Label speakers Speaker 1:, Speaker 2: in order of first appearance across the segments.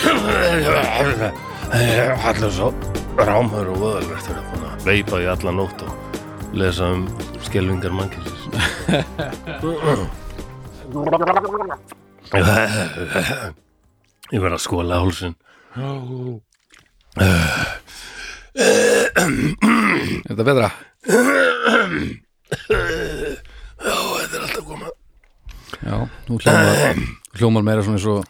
Speaker 1: Herra, ég er allir svo rámur og vöðalvert þegar búin að veipa í alla nótt og lesa um skelvingar mannkynsis. ég verð að skóla hálsinn.
Speaker 2: Er þetta betra?
Speaker 1: Ó, þetta er alltaf koma.
Speaker 2: Já, nú hljómar, hljómar meira svona eins og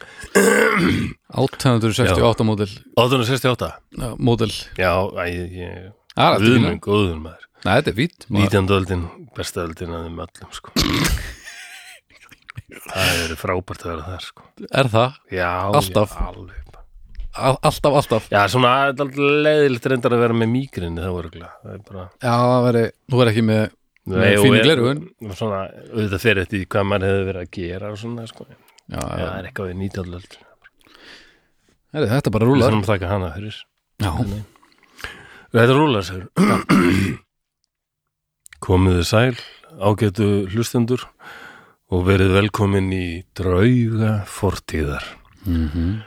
Speaker 2: 868 módel
Speaker 1: 1868?
Speaker 2: Já, módel
Speaker 1: Já, æ, ég, ég,
Speaker 2: Ah, þetta er fína.
Speaker 1: guðmenn, góður maður.
Speaker 2: Nei, þetta er fýtt
Speaker 1: 19. öldin, besta öldin að þeim öllum, sko. Það hefur verið frábært að vera þar, sko.
Speaker 2: Er það?
Speaker 1: Já,
Speaker 2: Alltaf.
Speaker 1: Já, alveg. bara.
Speaker 2: All, alltaf, alltaf
Speaker 1: Já, svona það er alltaf leiðilegt reyndar að vera með mígrinni það vorulega. Það er bara...
Speaker 2: Já, það veri, þú er ekki með Með
Speaker 1: og
Speaker 2: fínu
Speaker 1: er-
Speaker 2: gleraugun.
Speaker 1: og Svona, auðvitað fyrir eftir því hvað maður hefði verið að gera og svona, sko. Já,
Speaker 2: Já, já,
Speaker 1: það er eitthvað við 19. öld.
Speaker 2: Herri, þetta bara
Speaker 1: Við
Speaker 2: rúlar
Speaker 1: þurfum að taka hana, hörur.
Speaker 2: Já,
Speaker 1: Þetta rúlar, segur. Komiðu sæl, ágætu hlustendur og verið velkomin í drauga fortíðar.
Speaker 2: Mhm.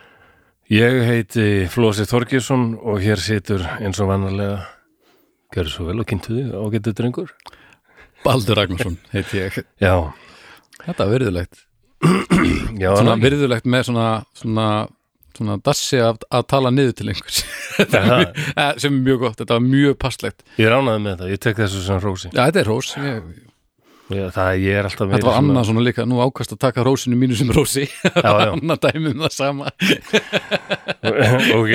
Speaker 1: Ég heiti Flósi Þorgjesson og hér situr eins og vannarlega Gjörðu svo vel og kynntu þig, ágætu drengur.
Speaker 2: Baldur Ragnarsson heiti ég
Speaker 1: Já,
Speaker 2: Þetta er virðulegt
Speaker 1: já,
Speaker 2: Svona
Speaker 1: er það
Speaker 2: virðulegt með svona, svona, svona dassi að, að tala niður til einhvers Þetta er
Speaker 1: Já.
Speaker 2: mjög- eh, sem er mjög gott, þetta var mjög passlegt
Speaker 1: ekki? ég ránaði með þetta, ég tek þessu sem rósi
Speaker 2: Já, þetta er rós ég,
Speaker 1: ég, það ég er alltaf meira
Speaker 2: Þetta var
Speaker 1: svona-
Speaker 2: annað svona líka, nú ákast að taka rósinu mínu sem rósi
Speaker 1: já, já,
Speaker 2: Annað dæmið það sama
Speaker 1: ok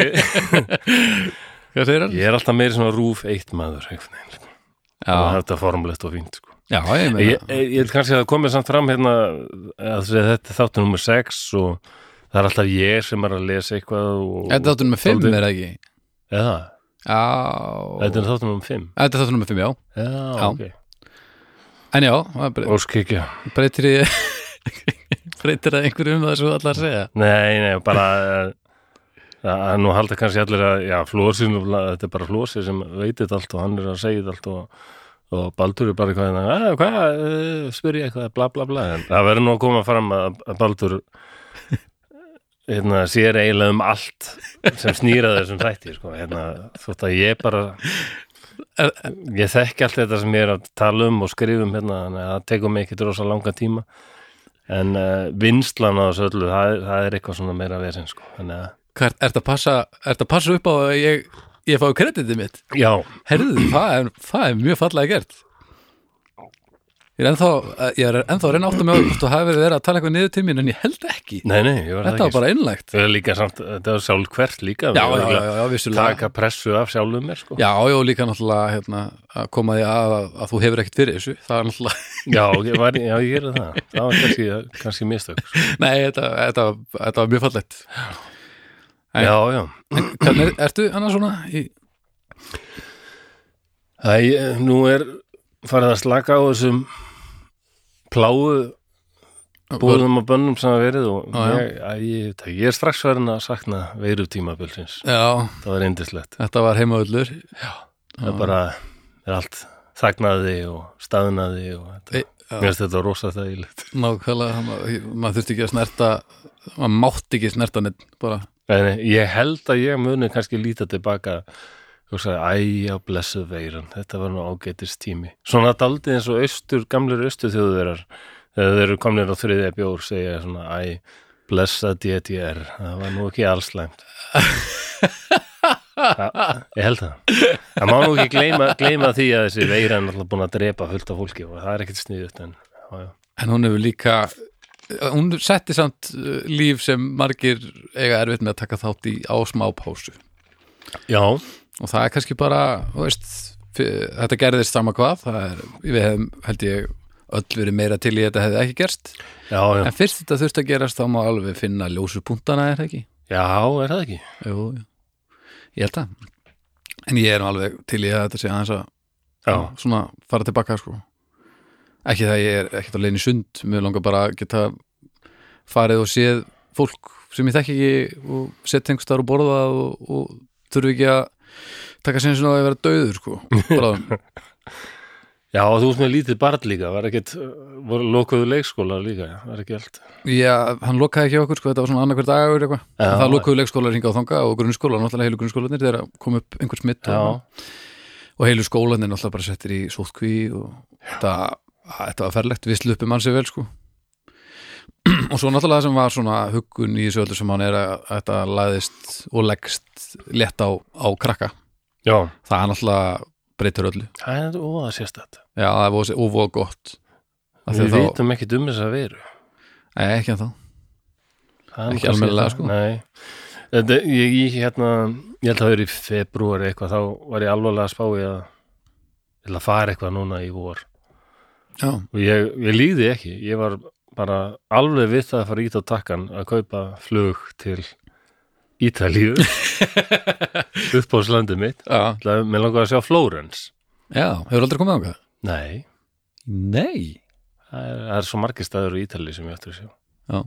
Speaker 2: Hvað segir hann?
Speaker 1: ég er alltaf meira svona rúf eitt maður einhvern veginn, sko. og
Speaker 2: Já,
Speaker 1: þetta er formlegt og fínt sko.
Speaker 2: já, ég meina
Speaker 1: ég, ég, ég vil kannski að það komið samt fram hérna að segja, þetta er þáttur nummer 6 og það er alltaf ég sem er að lesa eitthvað og,
Speaker 2: Þetta þáttur nummer 5 er það ekki?
Speaker 1: eða,
Speaker 2: Já
Speaker 1: þetta er þáttur nummer 5
Speaker 2: Þetta þáttur nummer 5, já
Speaker 1: já, já.
Speaker 2: Já.
Speaker 1: ok,
Speaker 2: En já, það bre-
Speaker 1: óskikja
Speaker 2: breytir í breytir það einhverju um það sem þú ætlar að segja
Speaker 1: Nei, nei, bara að- að nú halda kannski allir að já, flósin, þetta er bara flósi sem veitir allt og hann er að segja allt og, og Baldur er bara eitthvað hérna, að, hvað, eh, spyr ég eitthvað, bla bla bla en það verður nú að koma fram að, að Baldur eh, hérna, sér eiginlega um allt sem snýra þessum þætti sko, hérna, þótt að ég bara ég þekki allt þetta sem ég er að tala um og skrifa um hérna, þannig að það tekur mig ekkert rosa langa tíma en uh, vinslan á þessu öllu það, er- það er eitthvað svona meira vesinn sko. þannig að,
Speaker 2: Hvað, ert að passa, ert að passa upp á að ég, ég fá kreditið mitt?
Speaker 1: já,
Speaker 2: Herðu, það er, það er mjög fallega gert Ég er ennþá ég er ennþá að reyna átt að með hvort þú hafi verið verið að tala eitthvað niður til mín en ég held ekki
Speaker 1: nei, nei, ég var
Speaker 2: Þetta
Speaker 1: það
Speaker 2: var bara einlægt
Speaker 1: það er líka samt, þetta var sjálf hvert líka
Speaker 2: Já,
Speaker 1: Ég var
Speaker 2: já,
Speaker 1: líka
Speaker 2: já, já, vissulega
Speaker 1: taka pressu af sjálfum mér sko.
Speaker 2: Já, já, líka náttúrulega hérna, að koma því að, að, að þú hefur ekkert fyrir þessu það er náttúrulega,
Speaker 1: já, ég var, já, ég gerði það það var kannski, kannski mistök sko.
Speaker 2: nei, þetta, þetta, þetta var mjög fallegt Nei.
Speaker 1: já, já
Speaker 2: En hvernig, ertu annars svona í,
Speaker 1: Æ, nú er farið að slaka á þessum pláu búðum og bönnum sem að verið og
Speaker 2: Já, já.
Speaker 1: ég, að ég, það- ég er strax verið að sakna veiru tímabilsins
Speaker 2: Já,
Speaker 1: það var indislegt,
Speaker 2: þetta var heimavöllur
Speaker 1: það er bara er allt þagnaði og staðnaði og þetta,
Speaker 2: Ei, já.
Speaker 1: mér finnst þetta rosa þægilegt
Speaker 2: Nákvæmlega, maður mað þurfti ekki að snerta maður mátti ekki snerta neitt bara,
Speaker 1: Nei, nei, ég held að ég muni kannski líta tilbaka og sagði, æja, blessuð veiran, þetta var nú ágætist tími. Svona daldið eins og austur, gamlir austur þjóðverar, þegar þeir eru komnir á þriðja bjór, segja svona, æ, blessa DDR, það var nú ekki allslæmt. ég held það. Það má nú ekki gleyma, gleyma því að þessi veiran er alltaf búin að drepa fullt af fólki og það er ekkit sniðut en, já, já.
Speaker 2: en hún hefur líka hún setti samt uh, líf sem margir eiga erfitt með að taka þátt í á smá pásu
Speaker 1: Já,
Speaker 2: og það er kannski bara þú veist, fyr, þetta gerðist sama hvað það er, við hefum, held ég öll verið meira til í þetta hefði ekki gerst
Speaker 1: já, já,
Speaker 2: en fyrst þetta þurfti að gerast þá má alveg finna ljósu punktana er það ekki
Speaker 1: já, er það ekki?
Speaker 2: jú, jú. ég held það en ég er nú alveg til í að þetta sé aðeins að
Speaker 1: Já,
Speaker 2: svona fara tilbaka sko ekki það ég er ekkert á leiðin í sund mér langar bara að geta farið og séð fólk sem ég þekki ekki og sett einhvers þar og borða og, og þurfi ekki að taka sinni sinna á að vera döður sko bráðum.
Speaker 1: Já, og þú veist með lítið barn líka, var ekkit, voru lokuðu leikskólar líka, já, var ekki allt.
Speaker 2: Já, hann lokaði ekki á okkur, sko, þetta var svona annarkvært dagur eitthvað.
Speaker 1: Já.
Speaker 2: Það lokuðu leikskólar hingað og þanga og grunnskólar, náttúrulega heilu grunnskólanir þegar kom upp einhver smitt og, og heilu skólanir náttúrulega bara settir í sótkví og þetta, að, þetta var ferlegt, við slupum hann sér vel, sko. og svo náttúrulega það sem var svona huggun í þessu öllu sem hann er að, að þetta laðist og leggst létt á, á krakka.
Speaker 1: Já,
Speaker 2: Það er náttúrulega breytur öllu.
Speaker 1: það er óða sérstætt.
Speaker 2: Já, það var óvóð gott. Af því
Speaker 1: Við
Speaker 2: að þá-
Speaker 1: vitum ekki um þess að veru.
Speaker 2: Nei, ekki en þá.
Speaker 1: Það er nú
Speaker 2: Ekki
Speaker 1: kannski
Speaker 2: almennilega,
Speaker 1: það.
Speaker 2: sko.
Speaker 1: Nei, þetta, ég, ég, hérna, ég held að það er í februari eitthvað, þá var ég alvarlega að spá í að, ég ætla að fara eitthvað núna í vor.
Speaker 2: Já,
Speaker 1: Og ég, ég líði ekki, ég var bara alveg við það að fara ít á takkan að kaupa flug til Ítalíu, uppbóðslandið mitt.
Speaker 2: já,
Speaker 1: Ætla- Mér langar að sjá Flórens.
Speaker 2: já, hefur aldrei komið á hvað?
Speaker 1: Nei,
Speaker 2: Nei.
Speaker 1: það er, það er svo margir staður í Ítalíu sem ég ætti að sjá.
Speaker 2: Já.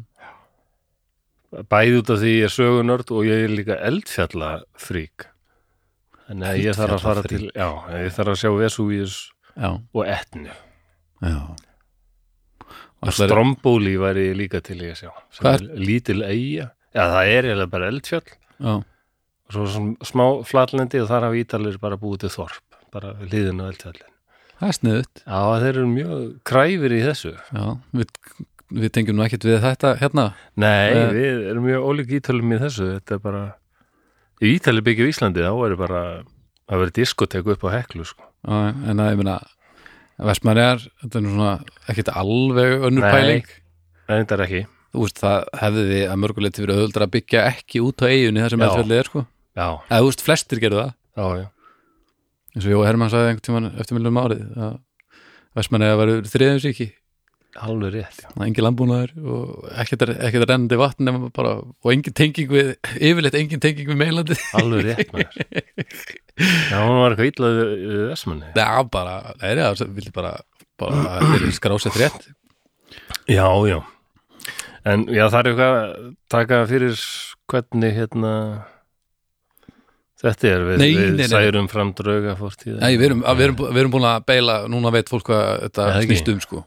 Speaker 1: Bæði út af því ég er sögunörd og ég er líka eldfjallafrík. Þannig að ég þarf að fara til, já, ég þarf að sjá Vesuvius
Speaker 2: Já,
Speaker 1: og Etnu.
Speaker 2: já
Speaker 1: Og
Speaker 2: Ætlar,
Speaker 1: Strombóli væri ég líka til ég að sjá. Sem
Speaker 2: Hvað
Speaker 1: er Lítil eiga. Já, það er eiginlega bara eldfjall.
Speaker 2: já,
Speaker 1: Og svo svona smá flatlendi og þar hafa Ítalir bara búið til þorp. Bara við liðinu á eldfjallin.
Speaker 2: Það er sniðut
Speaker 1: Já, þeir eru mjög kræfir í þessu.
Speaker 2: já, við, við tengjum nú ekkert við þetta hérna
Speaker 1: Nei,
Speaker 2: Nei.
Speaker 1: við erum mjög ólík ítölum í þessu Þetta er bara Í Ítali byggir Íslandi, þá er bara að vera diskotek upp á heklu sko.
Speaker 2: Já, en að ég meina Vestmanniðar, þetta er nú svona ekkert alveg önnur
Speaker 1: Nei.
Speaker 2: pæling
Speaker 1: Nei, þetta er ekki
Speaker 2: Þú veist, það hefði við að mörguleiti verið auðvöldra að byggja ekki út á eiginni þar sem
Speaker 1: Já.
Speaker 2: eldfjallið er sko
Speaker 1: Já,
Speaker 2: eða þú veist, flestir gerðu það
Speaker 1: já, já
Speaker 2: eins og Jóa Hermann sagði einhvern tímann eftir miljum árið að Vestmanniðar varu þriðum síki
Speaker 1: Alveg rétt, já
Speaker 2: það er engin landbúnaður og ekkert er- ekkert er rennandi vatn nema bara, og engin tenging við, yfirleitt engin tenging við meilandi
Speaker 1: Alveg rétt, maður Já, hún var eitthvað illað við Vestmanni
Speaker 2: Já, bara, nei, já, það vildi bara, bara verið skrásett rétt
Speaker 1: Já, já En já, það er eitthvað að taka fyrir hvernig hérna Þetta er við,
Speaker 2: Nei,
Speaker 1: við
Speaker 2: nei, nei.
Speaker 1: særum fram drauga fórtíð
Speaker 2: Nei, við erum, að- við, erum, bú- við erum búin að beila, núna veit fólk hvað þetta
Speaker 1: Já, það ekki.
Speaker 2: snýst um, sko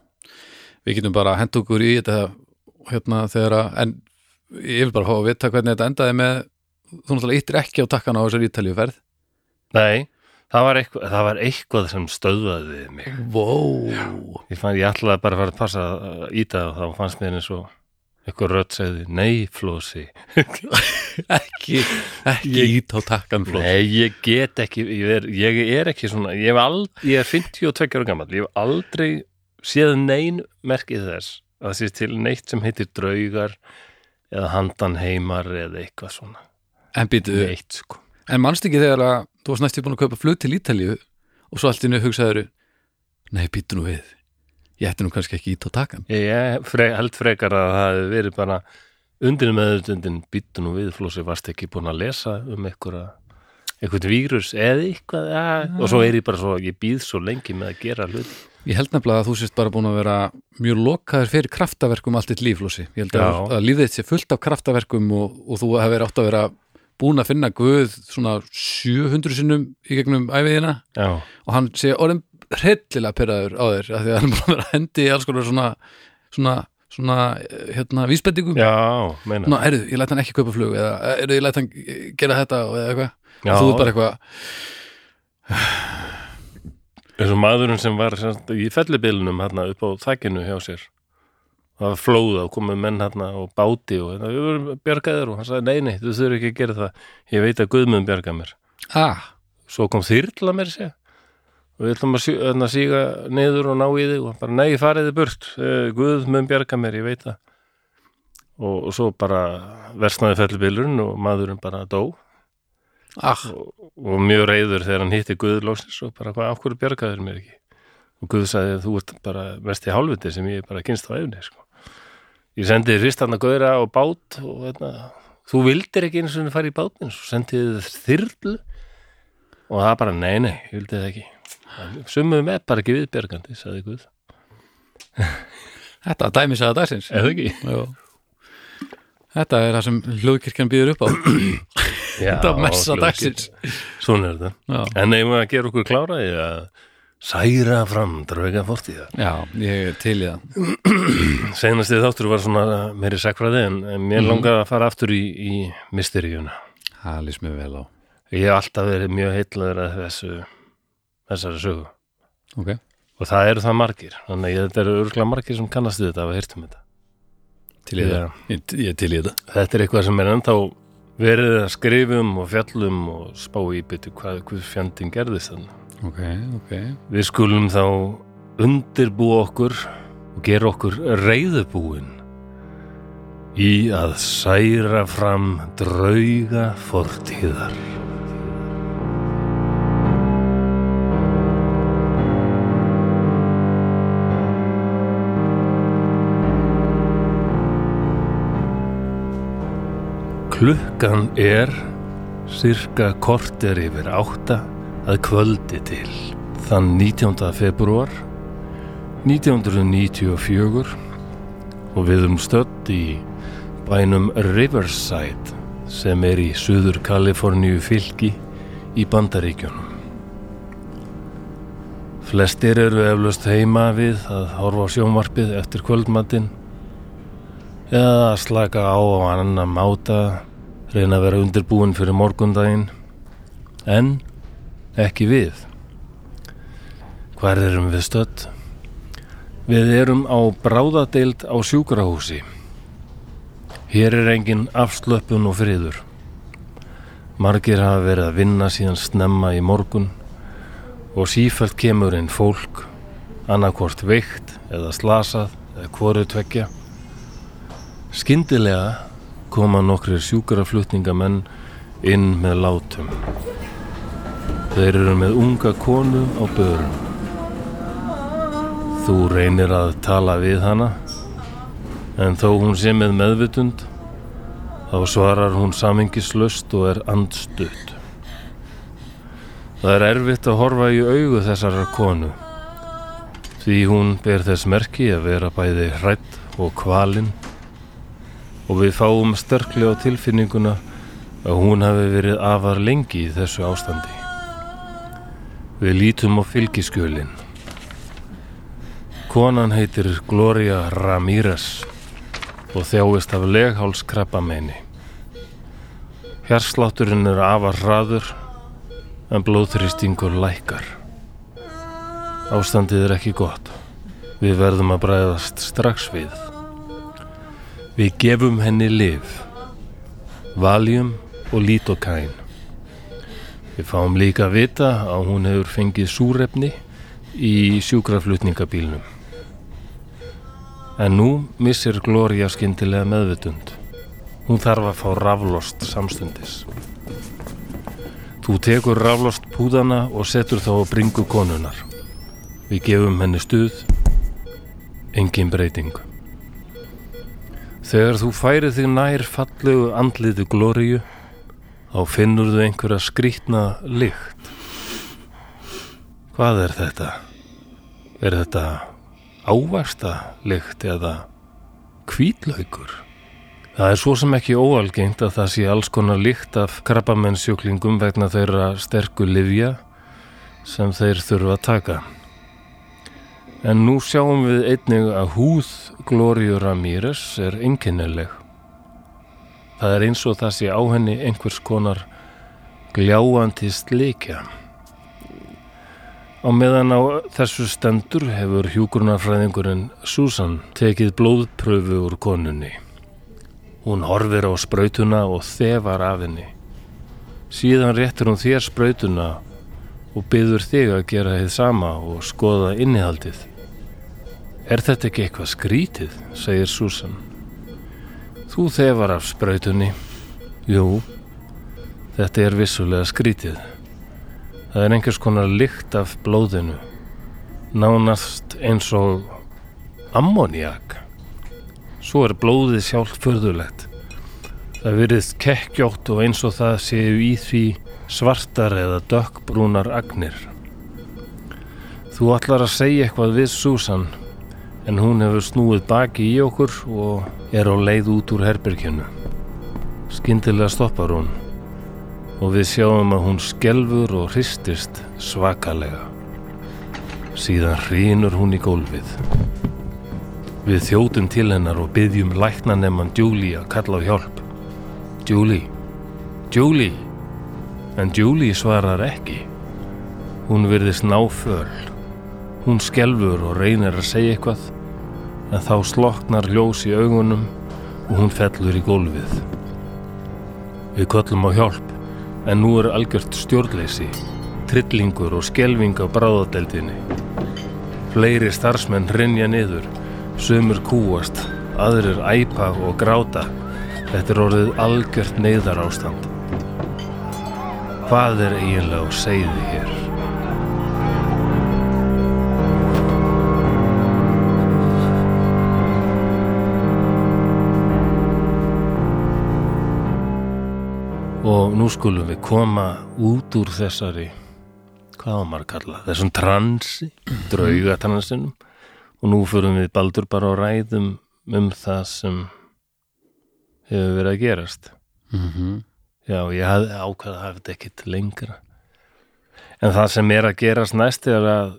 Speaker 2: Við getum bara hent okkur í þetta hérna þegar að, en ég vil bara fá að vita hvernig þetta endaði með þú náttúrulega yttir ekki á takkan á þessari ítalíuferð
Speaker 1: Nei, það var, eitthvað, það var eitthvað sem stöðvaði mig
Speaker 2: Vó
Speaker 1: Ég, fann, ég ætlaði bara að fara að passa að íta og þá fannst mér eins og eitthvað rödd segði, nei Flósi
Speaker 2: Ekki, ekki ít á takkan flóð
Speaker 1: nei ég get ekki ég er, ég er ekki svona, ég, hef ald, ég er 52 ára gammal, ég hef aldrei séð nein merkið þess að það sé til neitt sem heitir draugar eða handanheimar eða eitthvað svona,
Speaker 2: En býtu,
Speaker 1: neitt sko
Speaker 2: en manst ekki þegar að þú varst næstu búin að kaupa flug til Ítalíu og svo allt innu hugsaður Nei, býtu nú við Ég ætti nú kannski ekki ít á takkan
Speaker 1: ég fre, held frekar að það hefði verið bara undir meðutundin býttu nú við Flósi, varst ekki búin að lesa um einhverja einhvern vírus eða eitthvað ja. og svo er ég bara svo, ég býð svo lengi með að gera hlut
Speaker 2: Ég held nefnilega að þú sést bara búin að vera mjög lokaður fyrir kraftaverkum allt eitt líflósi. Ég held að,
Speaker 1: Já.
Speaker 2: að lífið þitt sé fullt af kraftaverkum og, og þú hefur átt að vera búin að finna Guð svona 700 sinnum í gegnum æfiðina
Speaker 1: já,
Speaker 2: og hann sé orðin hryllilega pyrraður á þér af því að hann er búin að vera að hendi í alls konar svona, svona, svona eh, hérna, vísbendingum.
Speaker 1: já, meina
Speaker 2: Ná, erðu, ég læt hann ekki kaupa flug eða erðu, ég læt hann eh, gera þetta og eða eitthvað.
Speaker 1: já,
Speaker 2: Þú er bara eitthvað,
Speaker 1: eins og maðurinn sem var sem, sagt í fellibilunum hérna upp á þakinu hjá sér það var flóða og komið menn hérna og báti og hérna, við vorum bjargaður og hann sagði, nei, nei, þú þurfi ekki að gera það ég veit að Guðmund bjarga mér
Speaker 2: ah,
Speaker 1: svo kom þyrla mér sé og við ætlum að sí- hérna, síga niður og ná í þig og hann bara nei fariði burt Eh, Guð mun bjarga mér, ég veit það og, og svo bara versnaði fellibylurinn og maðurinn bara dó
Speaker 2: ah,
Speaker 1: og mjög reyður þegar hann hitti Guð lóksins og bara hvað, af hverju bjargaðir mér ekki og Guð sagði þú ert bara mest í hálfviti sem ég er bara kynst á efni sko. ég sendi ristanna gauðra á bát og veitna, þú vildir ekki eins og fara í bátinn svo sendiði þér þyrlu og það bara nei, nei, ég vildi það ekki sumum er bara ekki viðbjargandi sagði Guð,
Speaker 2: þetta dæmis að dagsins.
Speaker 1: eða ekki
Speaker 2: Já. Þetta er það sem hljóðkirkjan býður upp á
Speaker 1: Já,
Speaker 2: Þetta var messa
Speaker 1: fljótgert.
Speaker 2: dagsins.
Speaker 1: svona er þetta
Speaker 2: Já,
Speaker 1: en eigum við að gera okkur klára í að særa fram drauga fortíðar
Speaker 2: Já, ég er til í það
Speaker 1: senast þið þáttur var svona meiri sekfræði en en mér
Speaker 2: Mhm.
Speaker 1: langaði að fara aftur í, í mysteríuna
Speaker 2: Það lýst mjög vel á
Speaker 1: ég hef alltaf verið mjög heitlaður að þessu þessari sögu
Speaker 2: Ok,
Speaker 1: og það eru það margir þannig að ég- þetta eru örgulega margir sem kannast við þetta að hýrtum um þetta
Speaker 2: til í það Ég, ég er til í það
Speaker 1: þetta er eitthvað sem er ennþá verið að skrifum og fjallum og spá í byttu hvað, hvað fjandinn gerðist þannig
Speaker 2: Ok, ok
Speaker 1: Við skulum þá undirbúa okkur og gera okkur reyðubúin í að særa fram drauga fortíðar. Klukkan er cirka korter yfir átta að kvöldi til. Þann 19. februar 1994 og við um stödd í bænum Riverside sem er í Suður Kaliforníu fylki í Bandaríkjunum. Flestir eru eflaust heima við að horfa á sjónvarpið eftir kvöldmattin eða að slaka á á annan máta, reyna að vera undirbúin fyrir morgundaginn en ekki við. Hvar erum við stödd? Við erum á bráðadeild á sjúkrahúsi. Hér er engin afslöppun og friður. Margir hafa verið að vinna síðan snemma í morgun og sífælt kemur inn fólk, annarkvort veikt eða slasað eða hvoru tvekja. Skyndilega koma nokkrir sjúkraflutningamenn inn með látum. Þeir eru með unga konu á börum. Þú reynir að tala við hana en þó hún sé með meðvitund þá svarar hún samingislaust og er andstutt. Það er erfitt að horfa í augu þessarar konu því hún ber þess merki að vera bæði hrætt og kvalinn og við fáum sterklega á tilfinninguna að hún hafi verið afar lengi í þessu ástandi. Við lítum á fylgiskjölin. Konan heitir Gloria Ramírez og þjáist af leghálskrabbameini. Hjarslátturinn er afar hraður en blóðþrýstingur lækkar. Ástandið er ekki gott. Við verðum að bræðast strax við. Við gefum henni lif, valjum og lítokæn. Við fáum líka að vita að hún hefur fengið súrefni í sjúkraflutningabílnum. En nú missir Gloria skyndilega meðvitund. Hún þarf að fá raflost samstundis. Þú tekur raflost púðana og setur þá á bringu konunar. Við gefum henni stuð, engin breyting. Þegar þú færið þig nær fallegu andlitu Gloriu, þá finnur þú einhverja skrýtna lykt. Hvað er þetta? Er þetta ávasta lykt eða kvítlaukur? Það er svo sem ekki óalgengt að það sé alls konar lykt af krabbamennsjúklingum vegna þeirra sterku livja sem þeir þurfa að taka. En nú sjáum við einnig að húð Glóriu Ramírez er einkennileg. Það er eins og það sé á henni einhvers konar gljáandi slikja. Á meðan á þessu stendur hefur hjúgrunarfræðingurinn Susan tekið blóðpröfu úr konunni. Hún horfir á sprautuna og þefar af henni. Síðan réttir hún þér sprautuna og byður þig að gera þið sama og skoða innihaldið. Er þetta ekki eitthvað skrítið, segir Susan. Þú þefar af sprautunni. Jú, þetta er vissulega skrítið. Það er einhvers konar lykt af blóðinu. Nánast eins og ammoniak. Svo er blóðið sjálf förðulegt. Það virðist kekkjótt og eins og það séu í því svartar eða dökkbrúnar agnir. Þú ætlar að segja eitthvað við Susan en hún hefur snúið baki í okkur og er á leið út úr herberginu. Skyndilega stoppar hún og við sjáum að hún skelfur og hristist svakalega. Síðan hrýnur hún í gólfið. Við þjótum til hennar og byggjum læknanemann Julie að kalla á hjálp. Julie, Julie, en Julie svarar ekki. Hún virðist náföl. Hún skelfur og reynir að segja eitthvað, en þá sloknar ljós í augunum og hún fellur í gólfið. Við köllum á hjálp, en nú er algjört stjórnleysi, trillingur og skelving á bráðadeldinni. Fleiri starfsmenn hrynja niður, sömur kúast, aðrir æpa og gráta. Þetta er orðið algjört neyðar ástand. Hvað er eiginlega á segði hér? Og nú skulum við koma út úr þessari, hvað á maður að kalla, þessum transi, draugatransinum. Og nú förum við baldur bara og ræðum um það sem hefur verið að gerast.
Speaker 2: Mhm.
Speaker 1: Já, ég hafði ákveða að hafa þetta ekkit lengra. En það sem er að gerast næst er að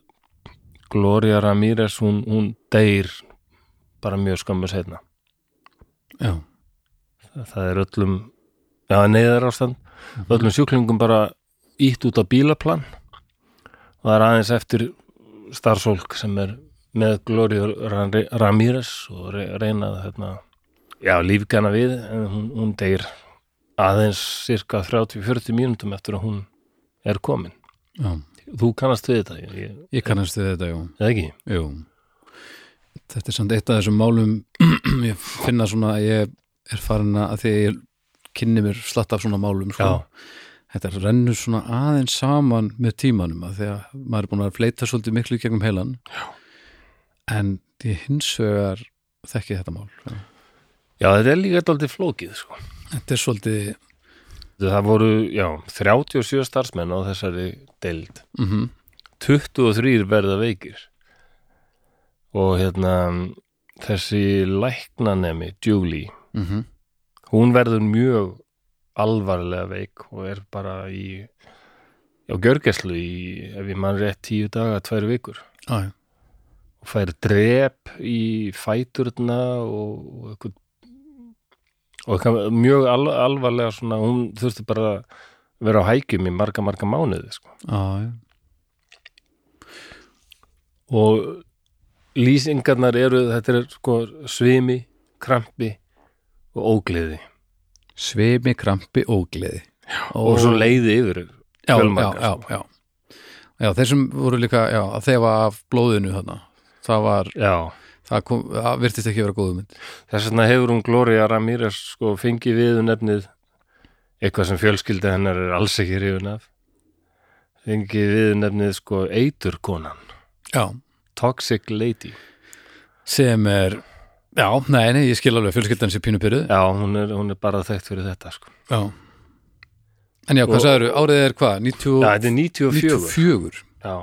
Speaker 1: Gloria Ramírez, hún, hún deyr bara mjög skammu setna.
Speaker 2: já,
Speaker 1: það er öllum já, neyðar ástand öllum sjúklingum bara ítt út á bílaplan og það er aðeins eftir starfsólk sem er með Gloria Ran- Ramírez og re- reyna að hérna, já, lífgana við en hún, hún deyr aðeins cirka 30-40 mínútum eftir að hún er komin
Speaker 2: já
Speaker 1: þú kannast við þetta, ég, ég,
Speaker 2: ég kannast við þetta, já,
Speaker 1: eða ekki
Speaker 2: jú þetta er samt eitt af þessum málum ég finna svona að ég er farin að af því að ég kynni mér slatt af svona málum sko.
Speaker 1: Já.
Speaker 2: þetta rennur svona aðeins saman með tímanum að því að maður er búin að fleita svolítið miklu í gegnum heilan já. en ég hins vegar þekki þetta mál já.
Speaker 1: já, þetta er líka alltaf flókið sko.
Speaker 2: þetta er svolítið
Speaker 1: það voru, já, 37 starfsmenn á þessari deild
Speaker 2: mm
Speaker 1: 23 verða veikir og hérna þessi læknanemi Julie,
Speaker 2: mhm.
Speaker 1: Mhm. hún verður mjög alvarlega veik og er bara í á gjörgæslu í ef ég mann rétt tíu daga, tvær vikur
Speaker 2: já, já.
Speaker 1: og fær drep í fæturna og, og eitthvað og eitthvað mjög al, alvarlega svona, hún þurfti bara að vera á hækjum í marga, marga mánuði sko.
Speaker 2: Já, já.
Speaker 1: og lýsingarnar eru þetta er sko svimi, krampi og ógleði
Speaker 2: svimi, krampi og gleði
Speaker 1: og svo leiði yfir
Speaker 2: já, já,
Speaker 1: fjölmargar,
Speaker 2: já, já. já þeir sem voru líka já, að þefa af blóðinu þarna það var,
Speaker 1: já.
Speaker 2: það, kom, það virtist ekki vera góðu mynd
Speaker 1: þess vegna hefur hún Gloria Ramírez sko fengið við nefnið eitthvað sem fjölskylda hennar er alls ekki hrifin af fengið við nefnið sko eiturkonan,
Speaker 2: já,
Speaker 1: toxic lady
Speaker 2: sem er já, nei, nei, ég skil alveg fjölskyldan sér pínu pyrruð
Speaker 1: já, hún er, hún er bara þekkt fyrir þetta sko
Speaker 2: já. en já,
Speaker 1: Og-
Speaker 2: hvað sagður, árið er hvað 90,
Speaker 1: já, þetta er 94
Speaker 2: 94
Speaker 1: já,